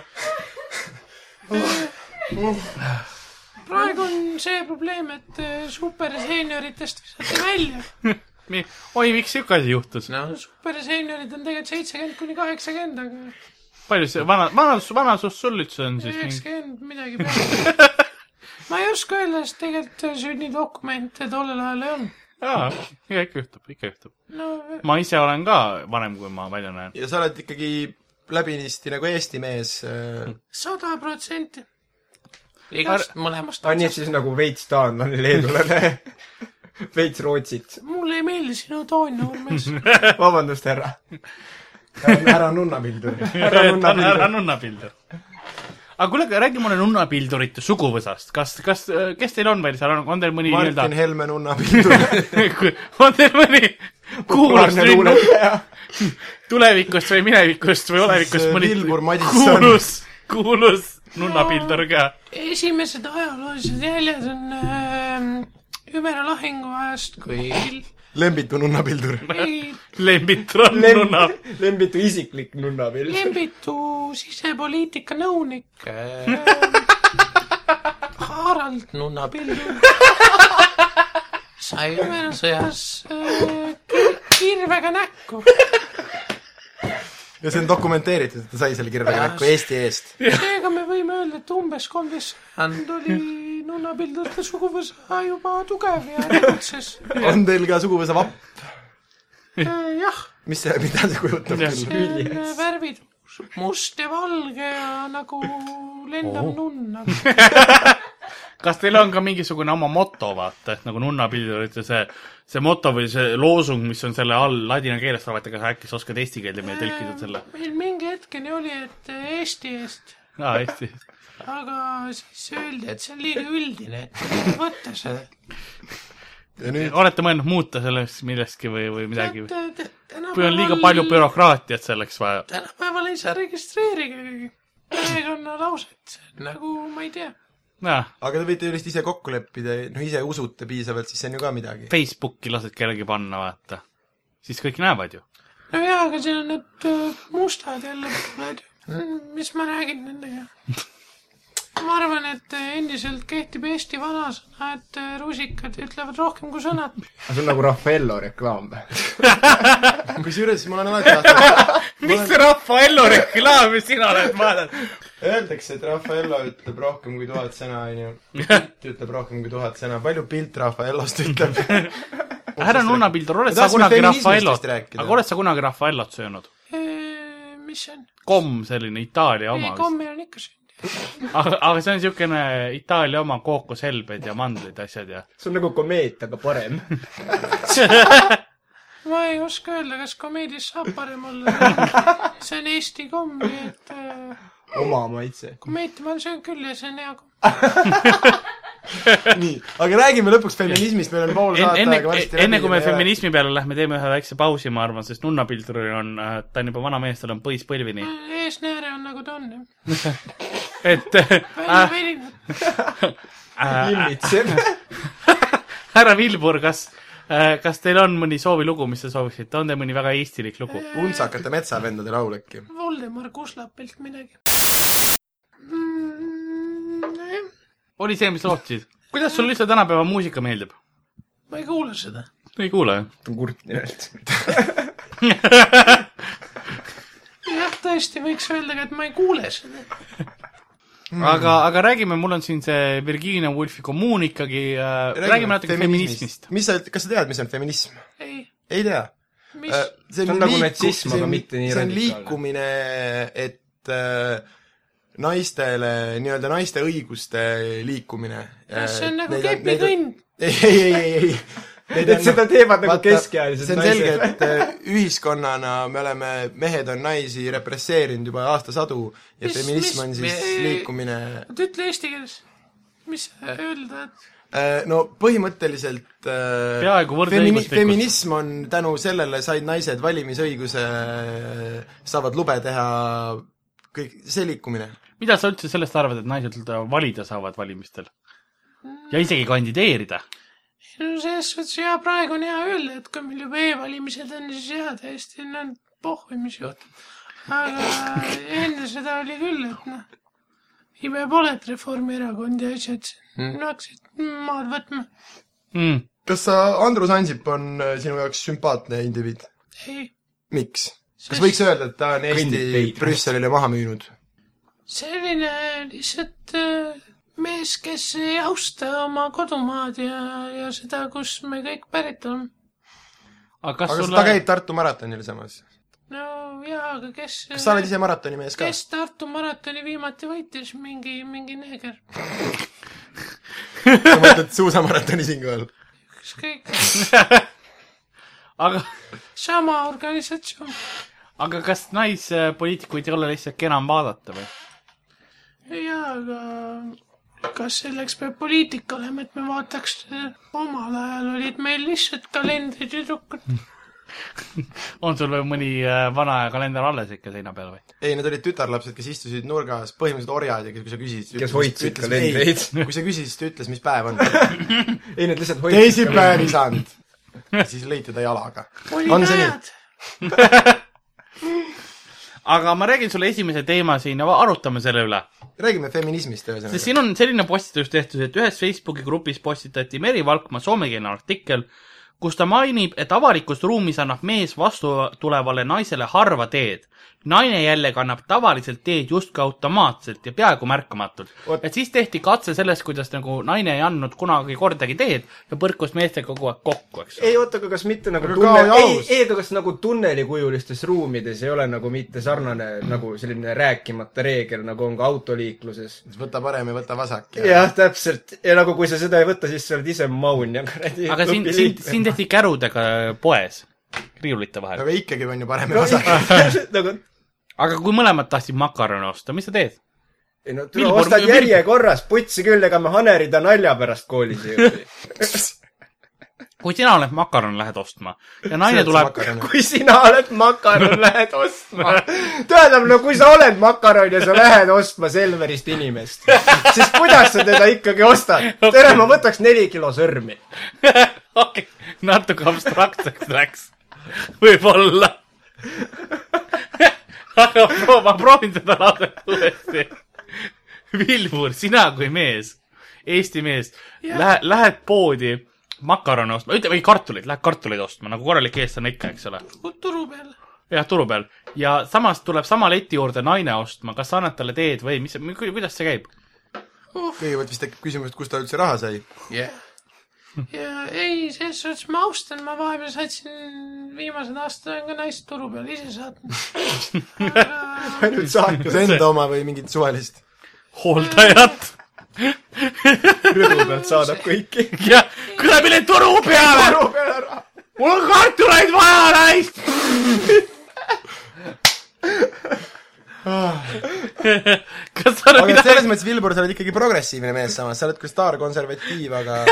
[SPEAKER 6] praegu on see probleem , et eh, superseenioritest visati välja .
[SPEAKER 2] oi , miks siuke asi juhtus no. ?
[SPEAKER 6] superseeniorid on tegelikult seitsekümmend kuni kaheksakümmend , aga
[SPEAKER 2] palju see vana , vanas , vanasus sul üldse on siis ?
[SPEAKER 6] üheksakümmend midagi peale . ma ei oska öelda , sest tegelikult eh, sünnidokumente tollel ajal ei olnud .
[SPEAKER 2] jaa , ikka juhtub , ikka juhtub .
[SPEAKER 6] no
[SPEAKER 2] ma ise olen ka vanem , kui ma välja näen .
[SPEAKER 4] ja sa oled ikkagi läbinisti nagu eesti mees .
[SPEAKER 6] sada protsenti . igast mõlemast
[SPEAKER 5] aa , nii et
[SPEAKER 6] otsast .
[SPEAKER 5] siis nagu veits taanlane , leedulane , veits Rootsit .
[SPEAKER 6] mulle ei meeldi sinu toon , noormees .
[SPEAKER 5] vabandust , härra .
[SPEAKER 4] ära nunna pildu .
[SPEAKER 2] ära nunnapildur . aga kuule , aga räägi mulle nunnapildurite suguvõsast , kas , kas , kes teil on veel seal , on teil mõni nii-öelda
[SPEAKER 4] Martin , Helme nunna pildu .
[SPEAKER 2] on teil mõni kuulus nunnu tulevikust või minevikust või olevikust
[SPEAKER 4] See
[SPEAKER 2] mõni
[SPEAKER 4] äh, Vilbur Madisson.
[SPEAKER 2] kuulus , kuulus nunnapildur ka ?
[SPEAKER 6] esimesed ajaloolised jäljed on äh, Ümera lahingu ajast , kui
[SPEAKER 4] Lembitu nunna pildur .
[SPEAKER 6] ei,
[SPEAKER 2] Lembitron nunna ,
[SPEAKER 5] Lembitu isiklik nunnapild .
[SPEAKER 6] Lembitu sisepoliitika nõunik äh, Harald Nunnapildu sai Ümera sõjas äh, ki- kirvega näkku .
[SPEAKER 4] ja see on dokumenteeritud , et ta sai selle kirvega näkku Eesti eest .
[SPEAKER 6] seega me võime öelda , et umbes kolmteist sajand oli nunnapildude suguvõsa juba tugev ja tegutses .
[SPEAKER 4] on teil ka suguvõsa vapp ?
[SPEAKER 6] jah ,
[SPEAKER 4] mis see , mida see kujutab
[SPEAKER 2] Jah.
[SPEAKER 4] küll ?
[SPEAKER 6] need värvid must ja valge ja nagu
[SPEAKER 2] Oh.
[SPEAKER 6] lendav nunn .
[SPEAKER 2] kas teil on ka mingisugune oma moto , vaata , et nagu nunnapildurite see , see moto või see loosung , mis on selle all ladina keeles , vaata , kas äkki sa oskad eesti keelde meile tõlkida selle ?
[SPEAKER 6] meil mingi hetkeni oli , et Eesti eest ,
[SPEAKER 2] aa , hästi .
[SPEAKER 6] aga siis öeldi , et see on liiga üldine , et võta see .
[SPEAKER 4] ja nüüd
[SPEAKER 2] olete mõelnud muuta sellest millestki või , või midagi ? kui
[SPEAKER 6] kui
[SPEAKER 2] on liiga palju . bürokraatiat selleks vaja .
[SPEAKER 6] tänapäeval ei saa registreerida perekonna lauset , nagu ma ei tea
[SPEAKER 2] jah ,
[SPEAKER 4] aga te võite ju lihtsalt ise kokku leppida , noh ise usute piisavalt , siis see on ju ka midagi .
[SPEAKER 2] Facebooki lased kellegi panna , vaata . siis kõik näevad ju .
[SPEAKER 6] nojaa , aga siin on need öö, mustad jälle pooled . mis ma räägin nendega ? ma arvan , et öö, endiselt kehtib Eesti vanasõna , et öö, rusikad ütlevad rohkem kui sõnad .
[SPEAKER 5] see on nagu Raffaello reklaam või ?
[SPEAKER 4] kusjuures ma olen alati tahtnud ,
[SPEAKER 2] mis Raffaello reklaami sina oled mõelnud ?
[SPEAKER 4] öeldakse , et Raffaello ütleb rohkem kui tuhat sõna , onju . pilt ütleb rohkem kui tuhat sõna , palju pilt Raffaellost ütleb ?
[SPEAKER 2] härra Nunnapildur , oled
[SPEAKER 4] Me
[SPEAKER 2] sa
[SPEAKER 4] tahtsime
[SPEAKER 2] kunagi
[SPEAKER 4] feminismist
[SPEAKER 2] Raffaellot
[SPEAKER 4] vist , rääkida.
[SPEAKER 2] aga oled sa kunagi Raffaellot söönud ?
[SPEAKER 6] Äh, mis see on ?
[SPEAKER 2] komm selline Itaalia
[SPEAKER 6] ei
[SPEAKER 2] oma , vist .
[SPEAKER 6] kommi on ikka süüa .
[SPEAKER 2] aga , aga see on niisugune Itaalia oma kookoshelbed ja mandlid , asjad ja .
[SPEAKER 5] see on nagu komeet , aga parem .
[SPEAKER 6] ma ei oska öelda , kas komeedias saab parem olla . see on Eesti komm , nii et öö,
[SPEAKER 5] oma maitse .
[SPEAKER 6] komeeti ma olen söönud küll ja see on hea komm .
[SPEAKER 4] nii , aga räägime lõpuks feminismist , meil on pool saate
[SPEAKER 2] enne
[SPEAKER 4] aega , varsti läbi .
[SPEAKER 2] enne kui me . feminismi peale lähme , teeme ühe väikse pausi , ma arvan , sest nunnapilduril on , ta on juba vana mees , tal on põis põlvini ,
[SPEAKER 6] eesnääre on nagu ta on .
[SPEAKER 2] et äh,
[SPEAKER 6] välja veninud .
[SPEAKER 5] ilmitseb .
[SPEAKER 2] härra Vilbur , kas , kas teil on mõni soovilugu , mis te sooviksite , on teil mõni väga eestilik lugu ?
[SPEAKER 4] untsakate metsavendade laul äkki .
[SPEAKER 6] Voldemar Kuslapilt midagi mm, . nojah ,
[SPEAKER 2] oli see , mis lootsid ? kuidas sul üldse tänapäeva muusika meeldib ?
[SPEAKER 6] ma ei kuula seda .
[SPEAKER 2] ei kuule , jah ?
[SPEAKER 5] ta on kurt nimelt .
[SPEAKER 6] jah , tõesti võiks öelda ka , et ma ei kuule seda .
[SPEAKER 2] aga , aga räägime , mul on siin see Virginia Woolfi kommuun ikkagi , räägime natuke feminismist .
[SPEAKER 4] mis sa , kas sa tead , mis on feminism ?
[SPEAKER 6] ei ,
[SPEAKER 4] ei tea
[SPEAKER 6] mis
[SPEAKER 4] Äh,
[SPEAKER 6] äh,
[SPEAKER 4] see
[SPEAKER 5] See on nagu natsism, aga mitte nii
[SPEAKER 4] see on
[SPEAKER 5] radikaalne.
[SPEAKER 4] liikumine , et äh, naistele , nii-öelda naiste õiguste liikumine . Äh,
[SPEAKER 6] kas see on nagu kepikõnd ?
[SPEAKER 4] ei , ei , ei , ei , ei .
[SPEAKER 5] Et seda teevad nagu keskealised
[SPEAKER 4] see on
[SPEAKER 5] naised.
[SPEAKER 4] selge , et äh, ühiskonnana me oleme , mehed on naisi represseerinud juba aastasadu ja
[SPEAKER 6] Mis-
[SPEAKER 4] feminism on
[SPEAKER 6] mis-
[SPEAKER 4] siis
[SPEAKER 6] me-
[SPEAKER 4] liikumine
[SPEAKER 6] oota , ütle eesti keeles . mis öelda , et
[SPEAKER 4] Äh, no põhimõtteliselt äh,
[SPEAKER 2] Peaaegu võrdõiguslikkus.
[SPEAKER 4] feminism on tänu sellele , said naised valimisõiguse , saavad lube teha kõik , see liikumine .
[SPEAKER 2] mida sa üldse sellest arvad , et naised valida saavad valimistel ? ja isegi kandideerida .
[SPEAKER 6] no selles suhtes hea , praegu on hea öelda , et kui meil juba e-valimised on , siis hea tõesti , no pohhu , mis juhtub . aga enne seda oli küll , et noh , ime pole , et Reformierakond ja asjad siin
[SPEAKER 4] Hmm.
[SPEAKER 6] hakkasid maad võtma .
[SPEAKER 2] Mm.
[SPEAKER 4] kas sa , Andrus Ansip on äh, sinu jaoks sümpaatne indiviid ?
[SPEAKER 6] ei
[SPEAKER 4] miks ? kas
[SPEAKER 6] Sest-
[SPEAKER 4] võiks öelda , et ta on
[SPEAKER 5] Kõndib
[SPEAKER 4] Eesti
[SPEAKER 5] veidrast.
[SPEAKER 4] Brüsselile maha müünud ?
[SPEAKER 6] selline lihtsalt äh, mees , kes ei austa oma kodumaad ja , ja seda , kus me kõik pärit oleme .
[SPEAKER 2] aga kas aga
[SPEAKER 4] aga kas ta
[SPEAKER 2] sulle ,
[SPEAKER 4] käib Tartu maratonil samas ?
[SPEAKER 6] no jaa , aga kes
[SPEAKER 4] kas sa oled ise maratoni mees ka ?
[SPEAKER 6] kes Tartu maratoni viimati võitis , mingi , mingi neeger ,
[SPEAKER 4] sa mõtled suusamaratoni siinkohal ?
[SPEAKER 6] ükskõik ,
[SPEAKER 2] aga ,
[SPEAKER 6] sama organisatsioon .
[SPEAKER 2] aga kas naispoliitikuid ei ole lihtsalt enam vaadata või ?
[SPEAKER 6] jaa , aga kas selleks peab poliitika olema , et me vaataks , omal ajal olid meil lihtsalt kalendritüdrukud .
[SPEAKER 2] on sul veel mõni äh, vana kalender alles ikka seina peal või ?
[SPEAKER 4] ei , need olid tütarlapsed , kes istusid nurgas , põhimõtteliselt orjad ja kui sa küsisid .
[SPEAKER 5] Kes hoidsid kalendreid.
[SPEAKER 4] kui sa küsisid , siis ta ütles , mis päev on .
[SPEAKER 5] ei , nad lihtsalt hoidsid .
[SPEAKER 4] teisipäev ei saanud . siis lõi teda jalaga . on
[SPEAKER 6] olid
[SPEAKER 4] see nii ?
[SPEAKER 6] ajad ,
[SPEAKER 2] aga ma räägin sulle esimese teema siin ja va- arutame selle üle .
[SPEAKER 4] räägime feminismist
[SPEAKER 2] sest
[SPEAKER 4] ühesõnaga .
[SPEAKER 2] Äh, siin on selline postitus tehtud , et ühes Facebooki grupis postitati Meri Valkma soomekeelne artikkel , kus ta mainib , et avalikus ruumis annab mees vastutulevale naisele harva teed . naine jällegi annab tavaliselt teed justkui automaatselt ja peaaegu märkamatult
[SPEAKER 4] Vot. .
[SPEAKER 2] et siis tehti katse sellest , kuidas nagu naine ei andnud kunagi kordagi teed ja põrkus meestega kogu aeg kokku , eks .
[SPEAKER 5] ei oota , aga kas mitte nagu
[SPEAKER 4] Aga
[SPEAKER 5] tunne ,
[SPEAKER 4] kao
[SPEAKER 5] ei
[SPEAKER 4] jalus. ,
[SPEAKER 5] ei , aga kas nagu tunnelikujulistes ruumides ei ole nagu mitte sarnane nagu selline rääkimata reegel , nagu on ka autoliikluses ?
[SPEAKER 4] võta parem ja võta vasak ja, ja.
[SPEAKER 5] jah , täpselt . ja nagu , kui sa seda ei võta , siis sa oled ise maun ja kuradi
[SPEAKER 2] aga siin ,
[SPEAKER 5] klubi
[SPEAKER 2] siin ,
[SPEAKER 5] liige.
[SPEAKER 2] siin tehti kärudega poes , riiulite vahel .
[SPEAKER 4] aga ikkagi on ju parem ja
[SPEAKER 5] no
[SPEAKER 4] vasak .
[SPEAKER 5] ikka , nagu
[SPEAKER 2] aga kui mõlemad tahtsid makarone osta , mis sa teed ?
[SPEAKER 5] ei no tule
[SPEAKER 2] Vilbur-
[SPEAKER 5] ostad
[SPEAKER 2] Vilbur-
[SPEAKER 5] järjekorras , putsi küll , ega me Hanerida nalja pärast koolis ei õpi .
[SPEAKER 2] kui sina oled makarone , lähed ostma ja naine tuleb ,
[SPEAKER 5] kui sina oled makaron , lähed ostma . tähendab , no kui sa oled makaron ja sa lähed ostma Selverist inimest , siis kuidas sa teda ikkagi ostad ? tere , ma võtaks neli kilo sõrmi .
[SPEAKER 2] okei , natuke abstraktseks läks , võib-olla . aga pro- ma proovin seda lauset uuesti . Vilbur , sina kui mees , Eesti mees , lähed , lähed poodi makarone ostma , ütle , või kartuleid , lähed kartuleid ostma nagu korralik eestlane ikka , eks ole .
[SPEAKER 6] turu peal .
[SPEAKER 2] jah , turu peal ja samas tuleb sama leti juurde naine ostma , kas sa annad talle teed või mis , kuidas see käib ?
[SPEAKER 4] kõigepealt vist tekib küsimus , et kust ta üldse raha sai .
[SPEAKER 6] ja ei , selles suhtes ma austan , ma vahepeal saatsin , viimased aastad olen ka naist turu peal ise saatnud .
[SPEAKER 4] ainult saakas enda oma või mingit suvalist .
[SPEAKER 2] hooldajat .
[SPEAKER 5] rõdu pealt saadab kõiki .
[SPEAKER 2] jah , kuule mine toru peale ,
[SPEAKER 5] turu peale ära .
[SPEAKER 2] mul on kartuleid vaja naist . kas sa oled
[SPEAKER 4] aga et selles
[SPEAKER 2] midagi ,
[SPEAKER 4] mõttes , Vilbur , sa oled ikkagi progressiivne mees samas , sa oled küll staarkonservatiiv , aga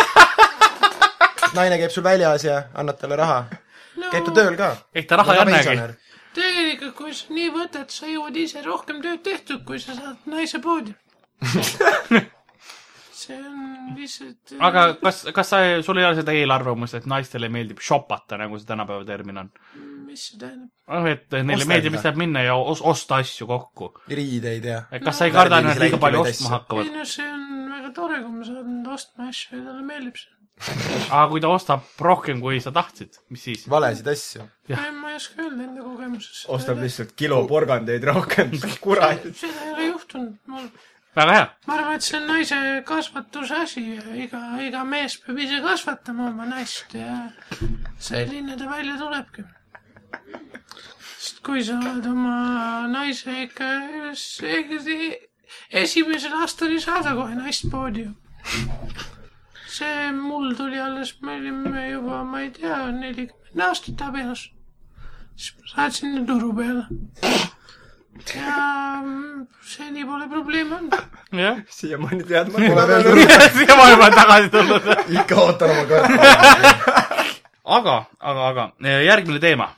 [SPEAKER 4] naine käib sul väljas ja annad talle raha . käib ta tööl ka .
[SPEAKER 2] ei ta raha ei annagi .
[SPEAKER 6] tegelikult , kui sa nii võtad , sa jõuad ise rohkem tööd tehtud , kui sa saad naise poodi . see on lihtsalt . äh,
[SPEAKER 2] aga kas , kas sa , sul ei ole seda eelarvamust , et naistele meeldib shopata , nagu see tänapäeva termin on ?
[SPEAKER 6] mis see tähendab ?
[SPEAKER 2] noh , et neile
[SPEAKER 4] Ostelda.
[SPEAKER 2] meeldib lihtsalt minna ja os- osta asju kokku .
[SPEAKER 4] riideid ja .
[SPEAKER 2] kas sa ei karda , et nad liiga palju
[SPEAKER 4] Värvilisi
[SPEAKER 2] ostma
[SPEAKER 4] asju.
[SPEAKER 2] hakkavad
[SPEAKER 6] ei ? no see on väga tore , kui ma saan ostma asju ja talle meeldib see .
[SPEAKER 2] aga kui ta ostab rohkem , kui sa tahtsid , mis siis ?
[SPEAKER 4] valesid asju .
[SPEAKER 2] Jah.
[SPEAKER 6] ma ei oska öelda enda kogemusest .
[SPEAKER 5] ostab . lihtsalt kilo porgandeid rohkem . kuradi .
[SPEAKER 6] seda ei ole juhtunud mul
[SPEAKER 2] väga hea .
[SPEAKER 6] ma arvan , et see on naise kasvatuse asi , iga , iga mees peab ise kasvatama oma naist ja selline ta välja tulebki . sest kui sa oled oma naise ikka üles- ega- esimesel aastal ei saada kohe naist poodi ju . see mul tuli alles , me olime juba , ma ei tea , nelikümmend aastat abielus . siis ma saatsin ta turu peale . ja mm, seni pole probleemi olnud .
[SPEAKER 2] jah .
[SPEAKER 5] siiamaani tead ma .
[SPEAKER 2] siia maailma on tagasi tulnud .
[SPEAKER 4] ikka ootan oma korda .
[SPEAKER 2] aga , aga , aga eh, järgmine teema .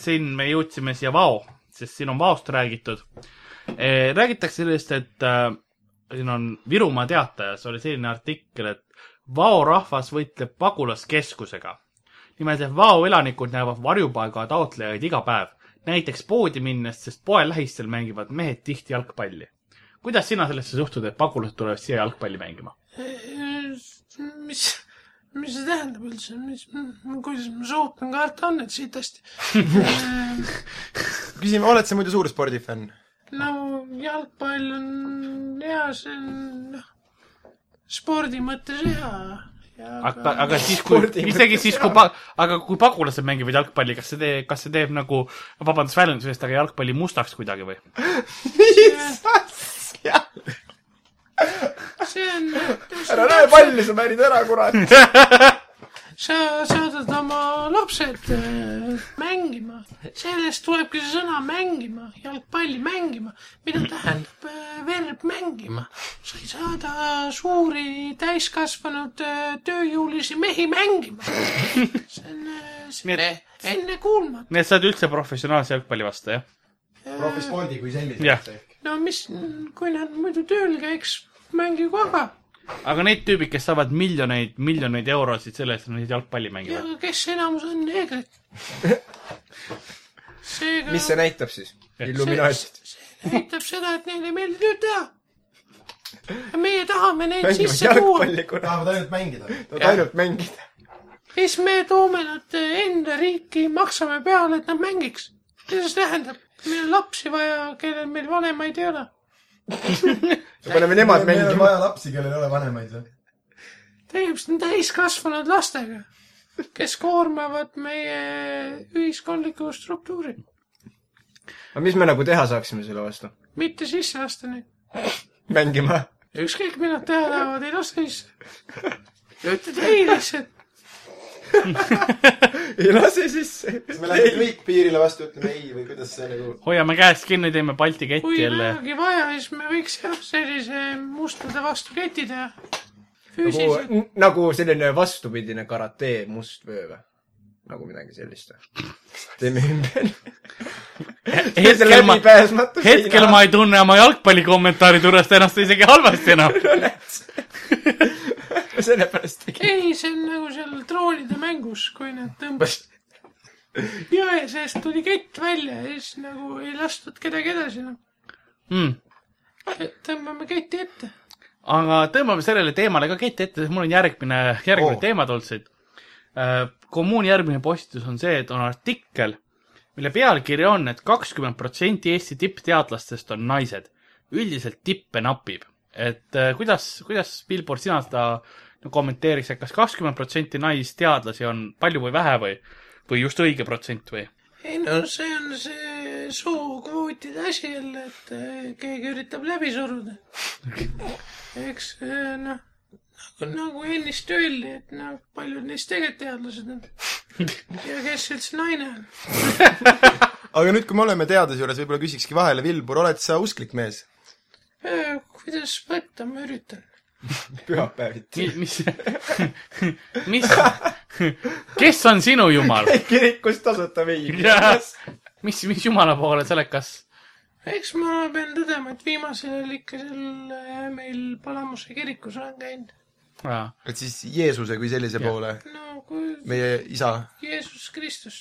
[SPEAKER 2] siin me jõudsime siia Vao , sest siin on Vaost räägitud . räägitakse sellest , et äh, siin on Virumaa Teatajas oli selline artikkel , et Vao rahvas võitleb pagulaskeskusega . nimelt , et Vao elanikud näevad varjupaiga taotlejaid iga päev , näiteks poodi minnes , sest poe lähistel mängivad mehed tihti jalgpalli . kuidas sina sellesse suhtud , et pagulased tulevad siia jalgpalli mängima ?
[SPEAKER 6] mis , mis see tähendab üldse , mis , kuidas ma suhtlen kartulid sitasti ?
[SPEAKER 4] küsime , oled sa muidu suur spordifänn ?
[SPEAKER 6] no jalgpall on hea , see on noh , spordi mõttes hea
[SPEAKER 2] aga , aga siis , kui , isegi siis , kui pa- , aga kui pagulased mängivad jalgpalli , kas see tee- , kas see teeb nagu , vabandust väljenduse eest , aga jalgpalli mustaks kuidagi või ?
[SPEAKER 5] mis asja ?
[SPEAKER 6] see on ,
[SPEAKER 5] ära näe palli , sa märid ära , kurat .
[SPEAKER 6] sa saadad oma lapsed äh, mängima , sellest tulebki see sõna mängima , jalgpalli mängima , mida tähendab äh, verb mängima . sa ei saada suuri täiskasvanud äh, tööjõulisi mehi mängima . see on äh, see
[SPEAKER 2] Nii
[SPEAKER 6] ennekuulmatu .
[SPEAKER 2] nii et sa oled üldse professionaalse jalgpalli vastu , jah ?
[SPEAKER 4] profispordi kui sellise
[SPEAKER 2] Jah. .
[SPEAKER 6] no mis , kui nad muidu tööl käiks , mängigu aga .
[SPEAKER 2] aga need tüübid , kes saavad miljoneid , miljoneid eurosid selle eest , et nad jalgpalli
[SPEAKER 6] ja
[SPEAKER 2] mängivad .
[SPEAKER 6] kes enamus on neegrid ? seega
[SPEAKER 5] mis see näitab siis ? Illuminaatid .
[SPEAKER 6] näitab seda , et neile ei meeldi tööd teha . meie tahame neid
[SPEAKER 5] mängivad
[SPEAKER 6] sisse tuua ,
[SPEAKER 5] jalgpalli , kurat .
[SPEAKER 4] tahavad ainult mängida .
[SPEAKER 5] Nad ainult mängida .
[SPEAKER 6] siis me toome nad eh, enda riiki , maksame peale , et nad mängiks . mida see tähendab ? meil on lapsi vaja , kellel meil vanemaid ei ole .
[SPEAKER 5] ja paneme nemad
[SPEAKER 4] meil on
[SPEAKER 5] mängima .
[SPEAKER 4] vaja lapsi , kellel ei ole vanemaid või ?
[SPEAKER 6] tegemist on täiskasvanud lastega , kes koormavad meie ühiskondlikku struktuuri ,
[SPEAKER 5] aga mis me nagu teha saaksime selle vastu ?
[SPEAKER 6] mitte sisse lasta neid .
[SPEAKER 5] mängima .
[SPEAKER 6] ükskõik , mida nad teha tahavad , ei lasta sisse . ütled ei lihtsalt .
[SPEAKER 5] ei lase sisse .
[SPEAKER 4] kas me läheme kõik piirile vastu , ütleme ei või kuidas see nagu
[SPEAKER 2] hoiame käest kinni , teeme Balti ketti
[SPEAKER 6] kui
[SPEAKER 2] jälle .
[SPEAKER 6] vähegi vaja , siis me võiks jah , sellise mustade vastu keti teha . füüsiliselt .
[SPEAKER 5] nagu , nagu selline vastupidine karate mustvöö või ? nagu midagi sellist või ? teeme ümber .
[SPEAKER 2] hetkel ma ,
[SPEAKER 5] läbipääsmatu
[SPEAKER 2] hetkel ma ei tunne oma jalgpallikommentaari turvast ennast isegi halvasti enam .
[SPEAKER 5] ma sellepärast tegin .
[SPEAKER 6] ei , see on nagu seal troonide mängus , kui nad tõmbasid jõe seest tuli kett välja ja siis nagu ei lastud kedagi edasi enam .
[SPEAKER 2] Mm.
[SPEAKER 6] tõmbame keti ette .
[SPEAKER 2] aga tõmbame sellele teemale ka keti ette , sest mul on järgmine , järgmine
[SPEAKER 4] Oo.
[SPEAKER 2] oh. teema tulnud siit . kommuuni järgmine postitus on see , et on artikkel , mille pealkiri on et , et kakskümmend protsenti Eesti tippteadlastest on naised . üldiselt tippe napib . et äh, kuidas , kuidas , Billboard , sina seda kommenteeriks , et kas kakskümmend protsenti naisteadlasi on palju või vähe või , või just õige protsent või ?
[SPEAKER 6] ei no see on see sookvootide asi jälle , et eh, keegi üritab läbi suruda . eks eh, noh , nagu , nagu ennist öeldi , et noh , paljud neist tegelikult teadlased on . ja kes üldse naine on ?
[SPEAKER 4] aga nüüd , kui me oleme teaduse juures , võib-olla küsikski vahele , Vilbur , oled sa usklik mees ?
[SPEAKER 6] Eh, kuidas võtta , ma üritan .
[SPEAKER 5] pühapäeviti .
[SPEAKER 2] mis , mis , kes on sinu jumal ?
[SPEAKER 5] kirikus tasuta vein .
[SPEAKER 2] mis , mis jumala poole sa oled , kas ?
[SPEAKER 6] eks ma pean tõdema , et viimasel ajal ikka seal äh, meil Palamuse kirikus olen käinud .
[SPEAKER 2] kas
[SPEAKER 4] et siis Jeesuse kui sellise poole ,
[SPEAKER 6] no kui
[SPEAKER 4] meie isa .
[SPEAKER 6] Jeesus Kristus .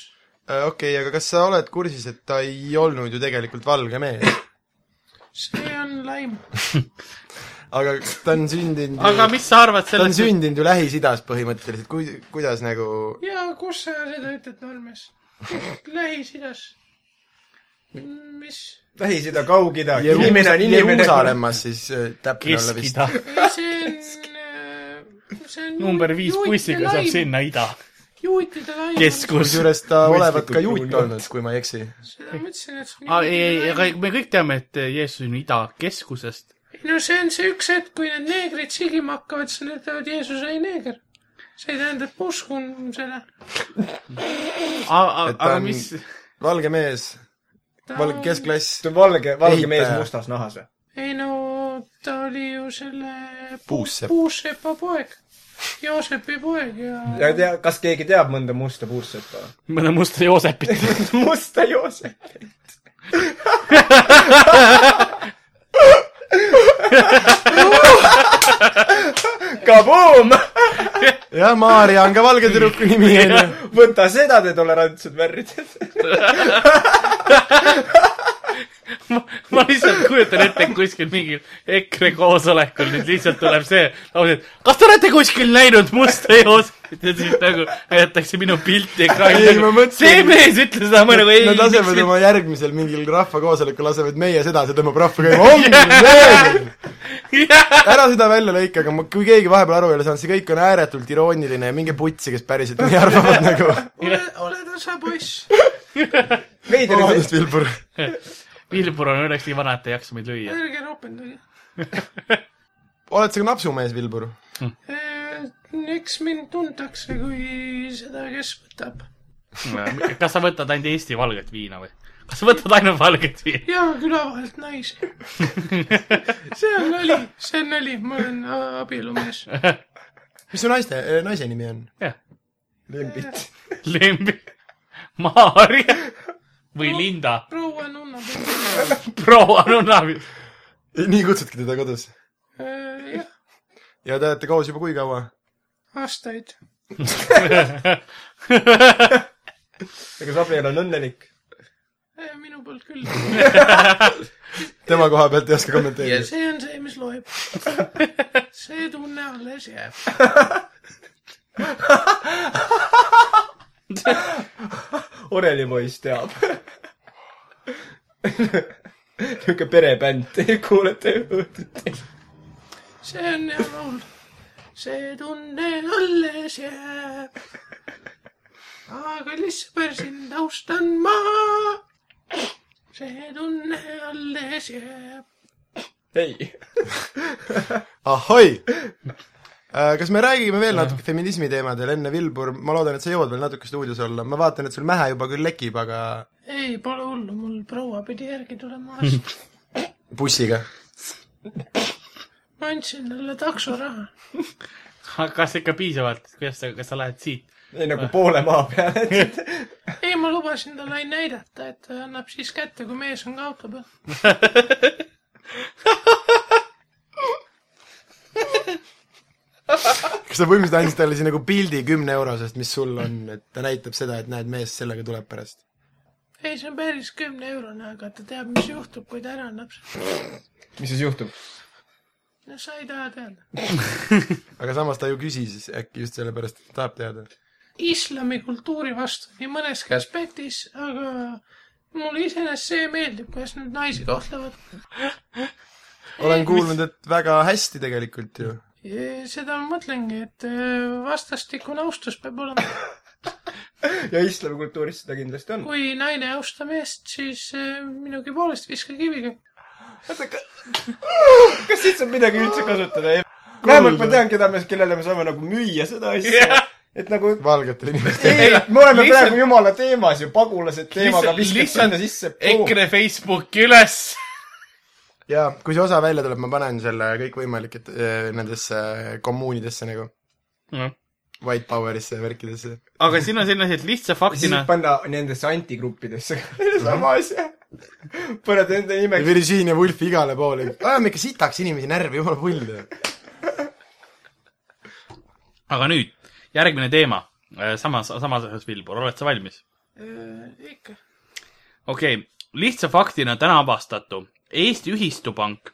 [SPEAKER 4] okei okay, , aga kas sa oled kursis , et ta ei olnud ju tegelikult valge mees ?
[SPEAKER 6] see on laim .
[SPEAKER 4] aga ta on sündinud
[SPEAKER 2] aga mis sa arvad
[SPEAKER 4] ta on
[SPEAKER 2] sellest ,
[SPEAKER 4] sündinud ju Lähis-Idas põhimõtteliselt , kui , kuidas nagu
[SPEAKER 6] ja kus sa seda ütled , Normes ? Lähis-Idas . mis ?
[SPEAKER 5] Lähis-Ida , Kaug-Ida .
[SPEAKER 4] Jeru-
[SPEAKER 5] inimene on inimene .
[SPEAKER 4] Jeruusalemmas siis äh, täpne olla vist .
[SPEAKER 2] Kesk-Ida ,
[SPEAKER 6] ei , see on , see on .
[SPEAKER 2] number viis bussiga saab . sinna ida
[SPEAKER 6] juutide laim .
[SPEAKER 2] keskus .
[SPEAKER 4] kusjuures ta
[SPEAKER 5] Mõistlikult
[SPEAKER 4] olevat ka juut
[SPEAKER 5] kuulnud.
[SPEAKER 4] olnud , kui ma ei eksi .
[SPEAKER 6] seda ma ütlesin , et see on
[SPEAKER 2] Ah, ei , ei , aga me kõik teame , et Jeesus on ida keskusest .
[SPEAKER 6] no see on see üks hetk , kui need neegrid sigima hakkavad , siis nad ütlevad , Jeesus oli neeger . see ei tähenda , et ma uskun selle .
[SPEAKER 2] aga
[SPEAKER 4] Et ta
[SPEAKER 2] aga
[SPEAKER 4] on-
[SPEAKER 2] mis ,
[SPEAKER 4] valge mees , valge keskklass ,
[SPEAKER 5] see on valge , valge
[SPEAKER 4] Ehitaja.
[SPEAKER 5] mees mustas nahas või ?
[SPEAKER 6] ei no ta oli ju selle
[SPEAKER 4] Puussepp.
[SPEAKER 6] puussepa poeg , Joosepi poeg ja,
[SPEAKER 5] ja tea , kas keegi teab mõnda musta puustsõtta või ?
[SPEAKER 2] mõne musta Joosepit .
[SPEAKER 5] musta Joosep . Kaboom!
[SPEAKER 4] jah , Maarja on ka valge tüdruku nimi , onju .
[SPEAKER 5] võta seda , te tolerantsed värrid .
[SPEAKER 2] ma lihtsalt kujutan ette , et kuskil mingil EKRE koosolekul nüüd lihtsalt tuleb see lause , et kas te olete kuskil näinud musta joosmit ja siis nagu näidatakse minu pilti ekraanil
[SPEAKER 4] Ei, ma
[SPEAKER 2] nagu, .
[SPEAKER 4] mõtlesin-
[SPEAKER 2] see mees ütles seda , ma nagu ei .
[SPEAKER 4] Nad lasevad oma järgmisel mingil rahvakoosolekul , lasevad meie seda , see tõmbab rahva käima , on , ära seda välja lõika , aga ma , kui keegi vahepeal aru ei ole saanud , see kõik on ääretult irooniline ja minge putsi , kes päriselt nii arvavad nagu .
[SPEAKER 6] ole , ole tasa , poiss .
[SPEAKER 5] veider on
[SPEAKER 4] vabandust , Vilbur .
[SPEAKER 2] Vilbur on õnneks nii vana , et ei jaksa meid lüüa .
[SPEAKER 6] ärge ropendage .
[SPEAKER 4] oled sa ka napsumees , Vilbur ?
[SPEAKER 6] Eh, eks mind tuntakse kui seda , kes võtab .
[SPEAKER 2] kas sa võtad ainult Eesti valget viina või ? kas sa võtad ainult valget viina ?
[SPEAKER 6] ja küla vahelt naisi . see on nali , see on nali , ma olen a- abielumees .
[SPEAKER 4] mis su naiste , naise nimi on ?
[SPEAKER 2] jah ,
[SPEAKER 4] Lembit .
[SPEAKER 2] Lembi , Maarja või Linda ,
[SPEAKER 6] proua nunna peal .
[SPEAKER 2] proua Nunnavi .
[SPEAKER 4] nii kutsudki teda kodus ?
[SPEAKER 6] Eh, jah ,
[SPEAKER 4] ja te olete koos juba kui kaua ?
[SPEAKER 6] aastaid .
[SPEAKER 5] kas abielu on õnnelik ?
[SPEAKER 6] Eh, minu poolt küll .
[SPEAKER 4] tema koha pealt ei oska kommenteerida yes. .
[SPEAKER 6] see on see , mis loeb . see tunne alles jääb .
[SPEAKER 5] orelipoiss teab . niisugune perebänd , kuulete õhtuti .
[SPEAKER 6] see on hea laul . see tunne alles jääb . aga lihtsalt sind austan ma . see tunne alles jääb .
[SPEAKER 5] ei .
[SPEAKER 4] ahoi Äh, kas me räägime veel natuke feminismi teemadel enne , Vilbur , ma loodan , et sa jõuad veel natuke stuudios olla , ma vaatan , et sul mähe juba küll lekib , aga
[SPEAKER 6] ei , pole hullu , mul proua pidi järgi tulema arst .
[SPEAKER 4] bussiga .
[SPEAKER 6] ma andsin talle taksoraha .
[SPEAKER 2] kas ikka piisavalt , kuidas sa , kas sa lähed siit ?
[SPEAKER 5] ei nagu poole maa peale .
[SPEAKER 6] ei , ma lubasin talle ainult näidata , et ta annab siis kätte , kui mees on ka auto peal .
[SPEAKER 4] kas sa põhimõtteliselt andsid talle siis nagu pildi kümne eurosest , mis sul on , et ta näitab seda , et näed , mees sellega tuleb pärast ?
[SPEAKER 6] ei , see on päris kümne eurone , aga ta teab , mis juhtub , kui ta ära annab .
[SPEAKER 5] mis siis juhtub ?
[SPEAKER 6] no sa ei taha teada .
[SPEAKER 4] aga samas ta ju küsis äkki just sellepärast , et tahab teada .
[SPEAKER 6] islami kultuuri vastu nii mõneski aspektis , aga mulle iseenesest see meeldib , kuidas nad naisi kohtlevad .
[SPEAKER 4] olen kuulnud , et väga hästi tegelikult ju .
[SPEAKER 6] seda ma mõtlengi , et äh, vastastikune austus peab olema .
[SPEAKER 5] ja islamikultuuris seda kindlasti on .
[SPEAKER 6] kui naine ei austa meest , siis äh, minugi poolest viska kiviga .
[SPEAKER 5] kas siit saab midagi üldse kasutada ? vähemalt ma tean , keda me , kellele me saame nagu müüa seda asja . et nagu
[SPEAKER 4] valgetele inimestele .
[SPEAKER 5] ei , me oleme
[SPEAKER 2] Lihtsalt-
[SPEAKER 5] praegu jumala teemas ju , pagulased teemaga viskad sinna sisse .
[SPEAKER 2] EKRE Facebooki üles .
[SPEAKER 4] jaa , kui see osa välja tuleb , ma panen selle kõikvõimalike eh, nendesse kommuunidesse nagu , White Powerisse ja värkidesse .
[SPEAKER 2] aga siin on selline asi , et lihtsa
[SPEAKER 5] siis
[SPEAKER 2] faktina
[SPEAKER 5] võib , panna nendesse antigruppidesse sama asja . paned enda nimeks .
[SPEAKER 4] Virginia Woolfi igale poole . ajame ikka sitaks inimesi närvi , jumala pull ju .
[SPEAKER 2] aga nüüd järgmine teema , samas , samas asjas , Vilbur , oled sa valmis ?
[SPEAKER 6] ikka .
[SPEAKER 2] okei okay. , lihtsa faktina täna avastatu . Eesti Ühistupank ,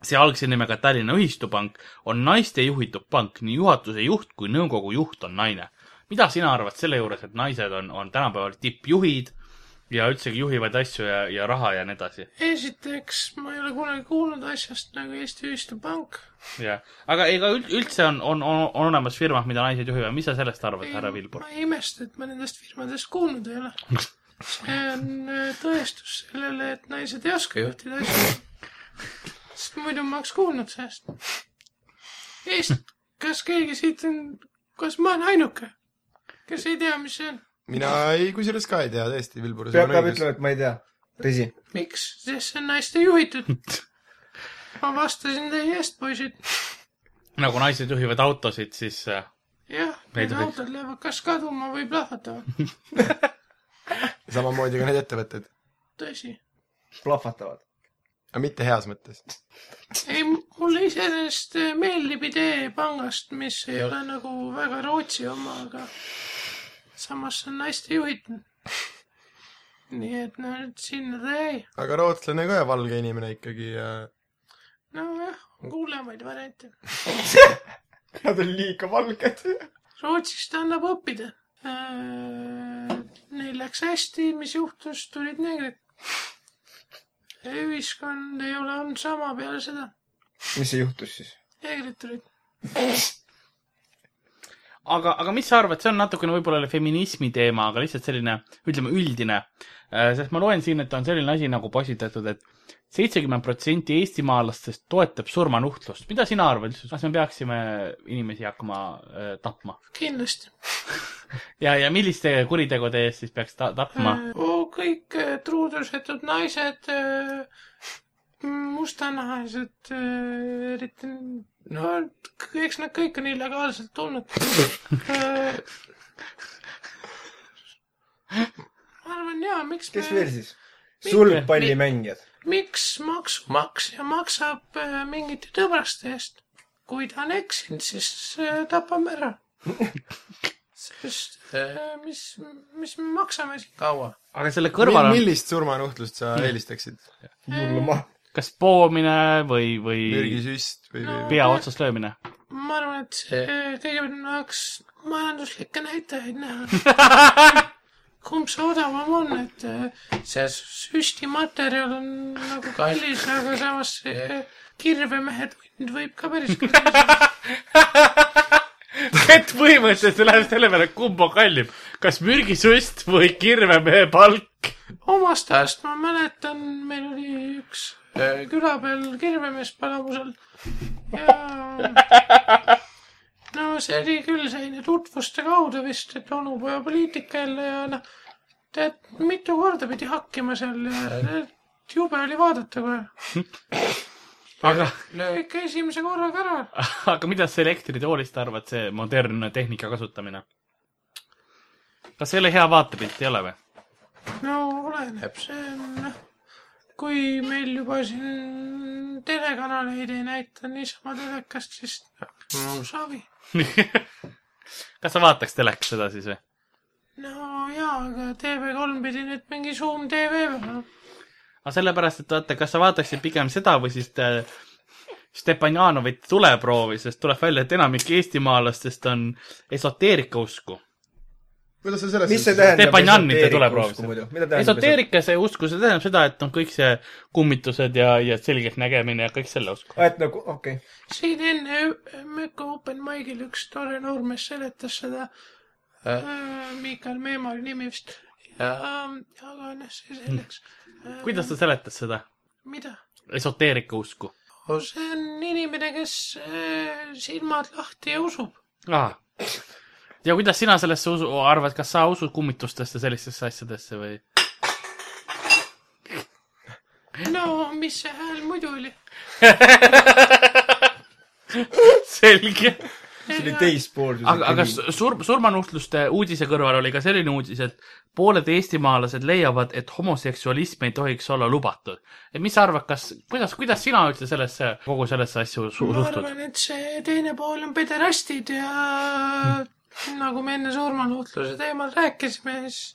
[SPEAKER 2] see algse nimega Tallinna Ühistupank , on naiste juhitud pank , nii juhatuse juht kui nõukogu juht on naine . mida sina arvad selle juures , et naised on , on tänapäeval tippjuhid ja üldsegi juhivad asju ja , ja raha ja nii edasi ?
[SPEAKER 6] esiteks , ma ei ole kunagi kuulnud asjast nagu Eesti Ühistupank .
[SPEAKER 2] jah , aga ega üld- üldse on , on, on , on olemas firmad , mida naised juhivad , mis sa sellest arvad , härra Vilbur
[SPEAKER 6] ma ? ei imesta , et ma nendest firmadest kuulnud ei ole . see on äh, tõestus sellele , et naised ei oska juhtida asju . sest muidu ma oleks kuulnud sellest . Eest- , kas keegi siit on , kas ma olen ainuke , kes ei tea , mis see on ?
[SPEAKER 4] mina ei , kusjuures ka ei tea tõesti , Vilbur , sul
[SPEAKER 5] peab
[SPEAKER 4] on
[SPEAKER 5] ka
[SPEAKER 4] õigus .
[SPEAKER 5] ütlema , et ma ei tea . tõsi .
[SPEAKER 6] miks ? sest see on naiste juhitud . ma vastasin teie eest , poisid .
[SPEAKER 2] nagu naised juhivad autosid , siis äh,
[SPEAKER 6] jah ,
[SPEAKER 2] Meid
[SPEAKER 6] need
[SPEAKER 2] võiks-
[SPEAKER 6] autod lähevad kas kaduma või plahvatama .
[SPEAKER 4] samamoodi ka need ettevõtted ,
[SPEAKER 6] tõsi
[SPEAKER 5] plahvatavad .
[SPEAKER 4] aga mitte heas mõttes .
[SPEAKER 6] ei , mulle iseenesest äh, meeldib idee pangast , mis ei ole nagu väga Rootsi oma , aga samas see on naiste juhitud . nii et no nüüd sinna tee .
[SPEAKER 4] aga rootslane ka ja valge inimene ikkagi ja
[SPEAKER 6] nojah , on hullemaid variante .
[SPEAKER 5] Nad on liiga valged .
[SPEAKER 6] Rootsist annab õppida . Neil läks hästi , mis juhtus , tulid neegrid . ühiskond ei ole olnud sama peale seda ,
[SPEAKER 5] mis see juhtus siis ?
[SPEAKER 6] neegrid tulid .
[SPEAKER 2] aga , aga mis sa arvad , see on natukene võib-olla jälle feminismi teema , aga lihtsalt selline , ütleme üldine . sest ma loen siin , et on selline asi nagu postitatud , et seitsekümmend protsenti eestimaalastest toetab surmanuhtlust . mida sina arvad , kas me peaksime inimesi hakkama äh, tapma
[SPEAKER 6] kindlasti .
[SPEAKER 2] ja , ja milliste kuritegude eest siis peaks ta tapma ?
[SPEAKER 6] Mm. kõik äh, truudusetud naised , äh, mustanahalised , äh, eriti , no k- eks nad kõik on illegaalselt tulnud . Äh, ma arvan jaa , miks
[SPEAKER 5] kes
[SPEAKER 6] me-
[SPEAKER 5] veel siis ? sulgpallimängijad .
[SPEAKER 6] miks maksumaksja maksab äh, mingite tõbraste eest ? kui ta on eksinud , siis äh, tapame ära . sest äh, mis , mis me maksame siin kaua ?
[SPEAKER 2] aga selle
[SPEAKER 4] Mil,
[SPEAKER 2] kõrval on
[SPEAKER 4] millist surmanuhtlust
[SPEAKER 5] Hm.
[SPEAKER 4] sa eelistaksid ?
[SPEAKER 5] hullu maha .
[SPEAKER 2] kas poomine või , või
[SPEAKER 4] mürgisüst või ,
[SPEAKER 6] No.
[SPEAKER 4] või ?
[SPEAKER 2] pea otsast löömine ?
[SPEAKER 6] ma arvan , et see kõigepealt me tahaks majanduslikke näitajaid näha . kumb see odavam on , et äh, see süstimaterjal on nagu kallis , aga samas see kirvemehe tund võib ka päris kallis olla .
[SPEAKER 2] et põhimõtteliselt see läheb selle peale , kumb on kallim , kas mürgisüst või kirvemehe palk ?
[SPEAKER 6] omast ajast ma mäletan , meil oli üks äh, küla peal kirvemees palamusel ja no see oli küll selline tutvuste kaudu vist , et onupoja poliitika jälle ja noh , tead mitu korda pidi hakkima seal ja et jube oli vaadata kohe .
[SPEAKER 2] aga ,
[SPEAKER 6] löö ikka esimese korraga ära .
[SPEAKER 2] aga mida sa elektritoolist arvad , see modernne tehnika kasutamine ? kas see ei ole hea vaatepilt , ei ole või ?
[SPEAKER 6] no oleneb , see on noh , kui meil juba siin telekanaleid ei näita niisama telekast , siis noh, no savi
[SPEAKER 2] kas sa vaataks telekast seda siis või ?
[SPEAKER 6] no jaa , aga TV3 pidi nüüd mingi Zoom tv peale .
[SPEAKER 2] aga sellepärast , et vaata , kas sa vaataksid pigem seda või siis te... Stepanjanovit tuleproovi , sest tuleb välja , et enamik eestimaalastest on esoteerika usku .
[SPEAKER 4] kuidas sa selles
[SPEAKER 5] mis see tähendab ?
[SPEAKER 2] Stepanjanite tuleproovis .
[SPEAKER 5] mida tähendab ?
[SPEAKER 2] esoteerikasse usku , see tähendab seda , et on kõik see kummitused ja , ja selgeltnägemine ja kõik selle usku .
[SPEAKER 5] et nagu , okei okay. .
[SPEAKER 6] siin enne ü- Möko Open Mic'il üks tore noormees seletas seda äh, , Miikal Meema oli nimi vist , aga noh , see selleks .
[SPEAKER 2] kuidas ta seletas seda
[SPEAKER 6] mida ?
[SPEAKER 2] esoteerika usku
[SPEAKER 6] see on inimene , kes äh, silmad lahti ja usub .
[SPEAKER 2] ah. ? ja kuidas sina sellesse usu , arvad , kas sa usud kummitustesse , sellistesse asjadesse või ?
[SPEAKER 6] no mis see hääl muidu oli ?
[SPEAKER 2] selge .
[SPEAKER 5] see oli teispoolsus .
[SPEAKER 2] aga , aga s- sur- , surmanuhtluste uudise kõrval oli ka selline uudis , et pooled eestimaalased leiavad , et homoseksualism ei tohiks olla lubatud . mis sa arvad , kas , kuidas , kuidas sina üldse sellesse , kogu sellesse asja su-
[SPEAKER 6] ma
[SPEAKER 2] suhtud ?
[SPEAKER 6] arvan , et see teine pool on pederastid ja nagu me enne surmanuhtluse teemal rääkisime , siis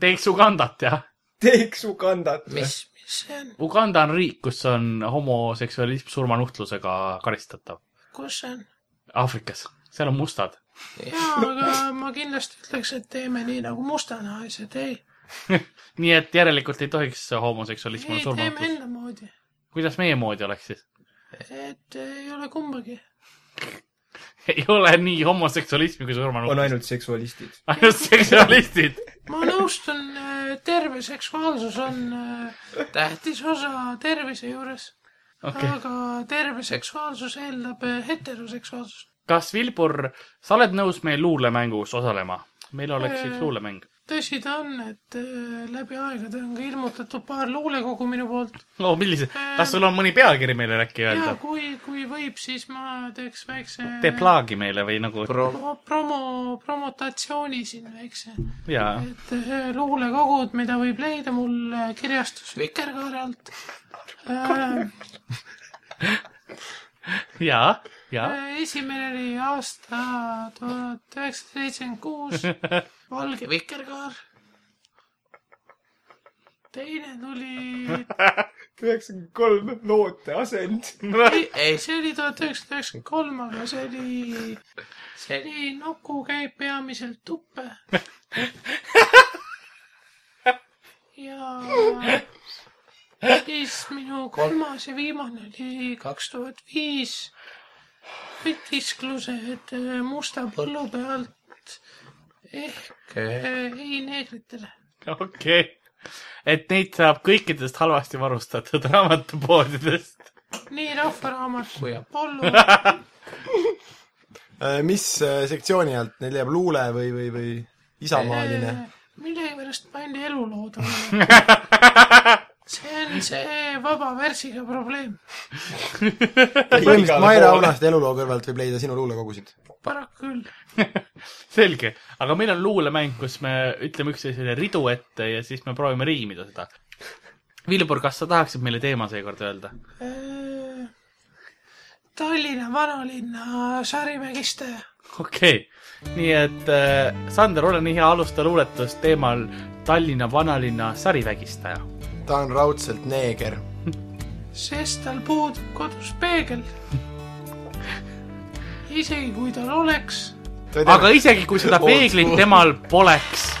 [SPEAKER 2] teeks Ugandat , jah ?
[SPEAKER 5] teeks Ugandat .
[SPEAKER 6] mis , mis see on ,
[SPEAKER 2] Uganda on riik , kus on homoseksualism surmanuhtlusega karistatav .
[SPEAKER 6] kus see on ?
[SPEAKER 2] Aafrikas , seal on mustad .
[SPEAKER 6] jaa , aga ma kindlasti ütleks , et teeme nii nagu mustanahalised , ei .
[SPEAKER 2] nii et järelikult ei tohiks homoseksualism
[SPEAKER 6] ei
[SPEAKER 2] olla ,
[SPEAKER 6] teeme
[SPEAKER 2] surmanuhtlus .
[SPEAKER 6] enda moodi ,
[SPEAKER 2] kuidas meie moodi oleks siis ?
[SPEAKER 6] et ei ole kumbagi .
[SPEAKER 2] ei ole nii homoseksualismi kui
[SPEAKER 5] on
[SPEAKER 2] surmanuhtlus .
[SPEAKER 5] ainult seksualistid .
[SPEAKER 2] ainult seksualistid .
[SPEAKER 6] ma nõustun , terve seksuaalsus on äh, tähtis osa tervise juures
[SPEAKER 2] okei okay. ,
[SPEAKER 6] aga terve seksuaalsus eeldab äh, heteroseksuaalsust .
[SPEAKER 2] kas Vilbur , sa oled nõus meil luulemängus osalema ? meil oleks üks luulemäng .
[SPEAKER 6] tõsi ta on , et äh, läbi aegade on ka ilmutatud paar luulekogu minu poolt
[SPEAKER 2] no millise , kas sul on mõni pealkiri meile äkki
[SPEAKER 6] ja
[SPEAKER 2] öelda ?
[SPEAKER 6] kui , kui võib , siis ma teeks väikse
[SPEAKER 2] tee plaagi meile või nagu
[SPEAKER 6] pro- promo , promotatsiooni siin väikse ,
[SPEAKER 2] jaa .
[SPEAKER 6] et äh, luulekogud , mida võib leida mul äh, kirjastus Vikerkaare alt äh, .
[SPEAKER 2] jaa , jaa .
[SPEAKER 6] Äh, esimene oli aasta tuhat üheksasada seitsekümmend kuus , Valge Vikerkaar . teine tuli ,
[SPEAKER 5] üheksakümmend kolm loote asend .
[SPEAKER 6] ei , see oli tuhat üheksasada üheksakümmend kolm , aga see oli , see oli Nuku käib peamiselt tuppe . ja siis minu kolmas ja viimane oli kaks tuhat viis . võtisklused eh, musta põllu pealt ehk eh, ei neegritele .
[SPEAKER 2] okei okay. . et neid saab kõikidest halvasti varustatud raamatupoodidest .
[SPEAKER 6] nii Rahvaraamat kui Apollo .
[SPEAKER 4] mis äh, sektsiooni alt neil jääb luule või , või , või isamaaline ?
[SPEAKER 6] äh, millegipärast pandi elulood alla . see on see vaba värsiga probleem ,
[SPEAKER 4] põhimõtteliselt Maire Aunaste eluloo kõrvalt võib leida sinu luulekogusid .
[SPEAKER 6] paraku küll .
[SPEAKER 2] selge , aga meil on luulemäng , kus me ütleme üksteisele ridu ette ja siis me proovime riimida seda . Vilbur , kas sa tahaksid meile teema seekord öelda ?
[SPEAKER 6] äh, Tallinna vanalinna sarimägiste
[SPEAKER 2] okei okay. , nii et äh, Sander , ole nii hea , alusta luuletust teemal Tallinna vanalinna sarivägistaja .
[SPEAKER 4] ta on raudselt neeger .
[SPEAKER 6] sest tal puudub kodus peegel . isegi kui tal oleks ,
[SPEAKER 2] aga isegi kui seda peeglit temal poleks ,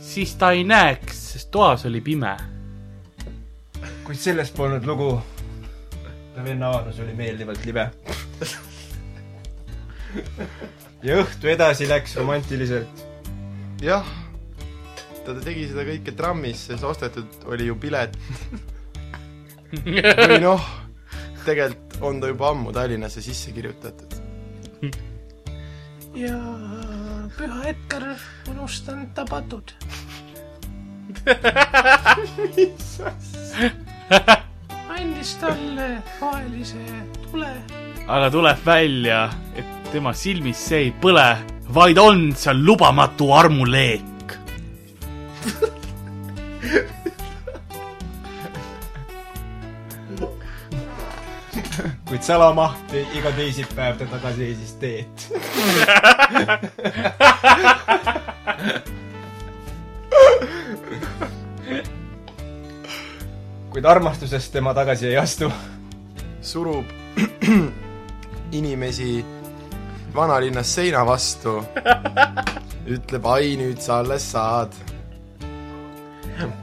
[SPEAKER 2] siis ta ei näeks , sest toas oli pime .
[SPEAKER 5] kuid sellest polnud lugu . ta venna avaldus oli meeldivalt libe . ja õhtu edasi läks romantiliselt .
[SPEAKER 4] jah , ta tegi seda kõike trammis , sest ostetud oli ju pilet . või noh , tegelikult on ta juba ammu Tallinnasse sisse kirjutatud .
[SPEAKER 6] ja püha Edgar unustanud tabatud . andis talle rohelise tule
[SPEAKER 2] aga tuleb välja , et tema silmis see ei põle , vaid on seal lubamatu armuleek .
[SPEAKER 5] kuid salamaht tõi iga teisipäev ta tagasi Eestis teed . kuid armastusest tema tagasi ei astu .
[SPEAKER 4] surub inimesi vanalinnas seina vastu . ütleb , ai nüüd sa alles saad .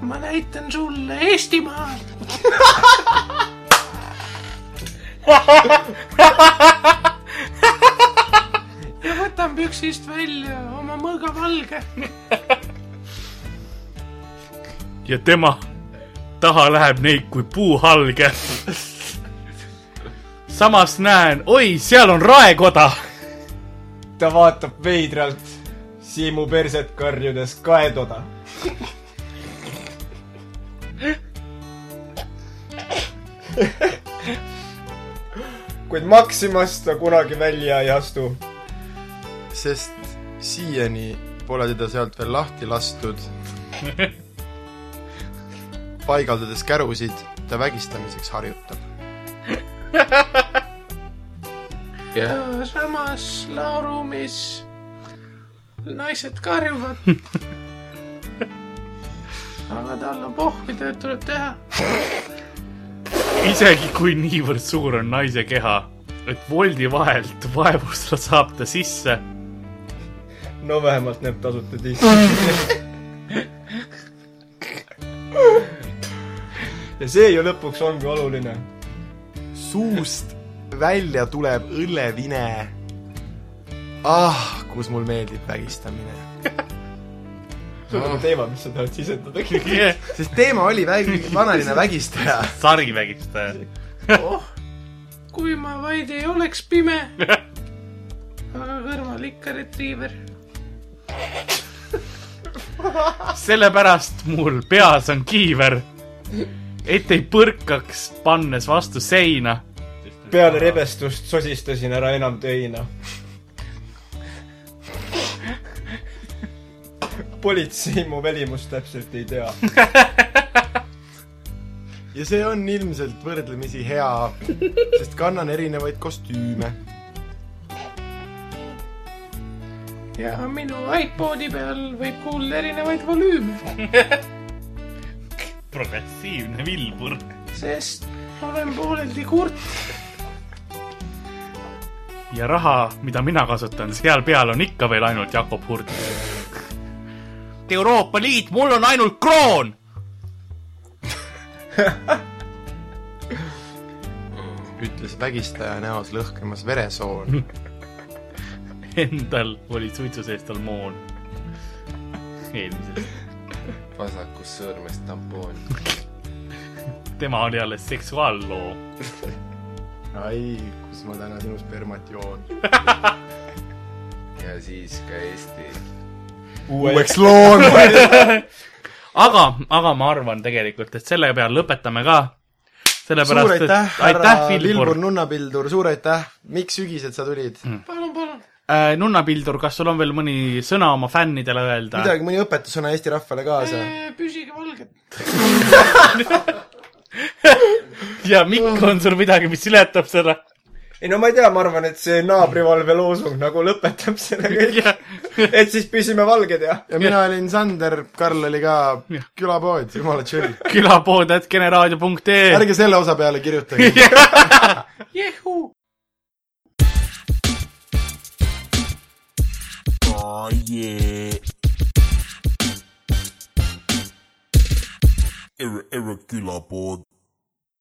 [SPEAKER 6] ma näitan sulle Eestimaad . ja võtan püksist välja oma mõõga valge .
[SPEAKER 2] ja tema taha läheb neid kui puuhalge . samas näen , oi , seal on raekoda .
[SPEAKER 5] ta vaatab veidralt Siimu perset karjudes kaetoda . kuid Maximast ta kunagi välja ei astu
[SPEAKER 4] sest siiani pole teda sealt veel lahti lastud . paigaldades kärusid , ta vägistamiseks harjutab .
[SPEAKER 6] samas laoruumis naised karjuvad . aga tal on pohvitööd tuleb teha .
[SPEAKER 2] isegi kui niivõrd suur on naise keha , et voldi vahelt vaevust saab ta sisse .
[SPEAKER 5] no vähemalt näeb tasuta tissi . ja see ju lõpuks ongi oluline .
[SPEAKER 4] suust välja tuleb õllevine . ah , kus mul meeldib vägistamine .
[SPEAKER 5] sul on teema , mis sa tahad sisendada .
[SPEAKER 4] sest teema oli vägi- , vanaline vägistaja .
[SPEAKER 2] sarivägistaja .
[SPEAKER 6] oh , kui ma vaid ei oleks pime . aga kõrval ikka retriiver .
[SPEAKER 2] sellepärast mul peas on kiiver , et ei põrkaks , pannes vastu seina .
[SPEAKER 5] peale rebestust sosistasin ära enam töina . politsei mu välimust täpselt ei tea .
[SPEAKER 4] ja see on ilmselt võrdlemisi hea , sest kannan erinevaid kostüüme .
[SPEAKER 6] ja minu iPodi peal võib kuulda erinevaid volüüme .
[SPEAKER 2] progressiivne Vilbur .
[SPEAKER 6] sest olen pooleldi kurt .
[SPEAKER 2] ja raha , mida mina kasutan , seal peal on ikka veel ainult Jakob Hurt . Euroopa Liit , mul on ainult kroon .
[SPEAKER 4] ütles vägistaja näos lõhkemas veresoon .
[SPEAKER 2] Endal oli suitsu sees tal moon . eelmises ,
[SPEAKER 7] vasakus sõõrmest tampoon .
[SPEAKER 2] tema oli alles seksuaalloo .
[SPEAKER 4] ai , kus ma täna sinu spermat joon .
[SPEAKER 7] ja siis ka Eesti .
[SPEAKER 4] uueks loon .
[SPEAKER 2] aga , aga ma arvan tegelikult , et selle peal lõpetame ka .
[SPEAKER 4] suur
[SPEAKER 2] sellepärast , et
[SPEAKER 4] aitäh ,
[SPEAKER 2] aitäh ,
[SPEAKER 4] härra
[SPEAKER 2] Vilbur
[SPEAKER 4] Vilbur . Nunnapildur , suur aitäh , miks sügised sa tulid mm. ?
[SPEAKER 2] nunnapildur , Äh, kas sul on veel mõni sõna oma fännidele öelda ?
[SPEAKER 4] midagi , mõni õpetussõna Eesti rahvale kaasa .
[SPEAKER 6] püsige valged .
[SPEAKER 2] ja Mikk , on sul midagi , mis ületab seda ?
[SPEAKER 5] ei no ma ei tea , ma arvan , et see naabrivalve loosung nagu lõpetab selle kõik . et siis püsime valged ja
[SPEAKER 4] ja mina olin Sander , Karl oli ka külapood , jumala chill .
[SPEAKER 2] külapood.generaadio.ee
[SPEAKER 4] ärge selle osa peale kirjutage .
[SPEAKER 6] jehuu .
[SPEAKER 1] Oh yeah. Ir- irregular board.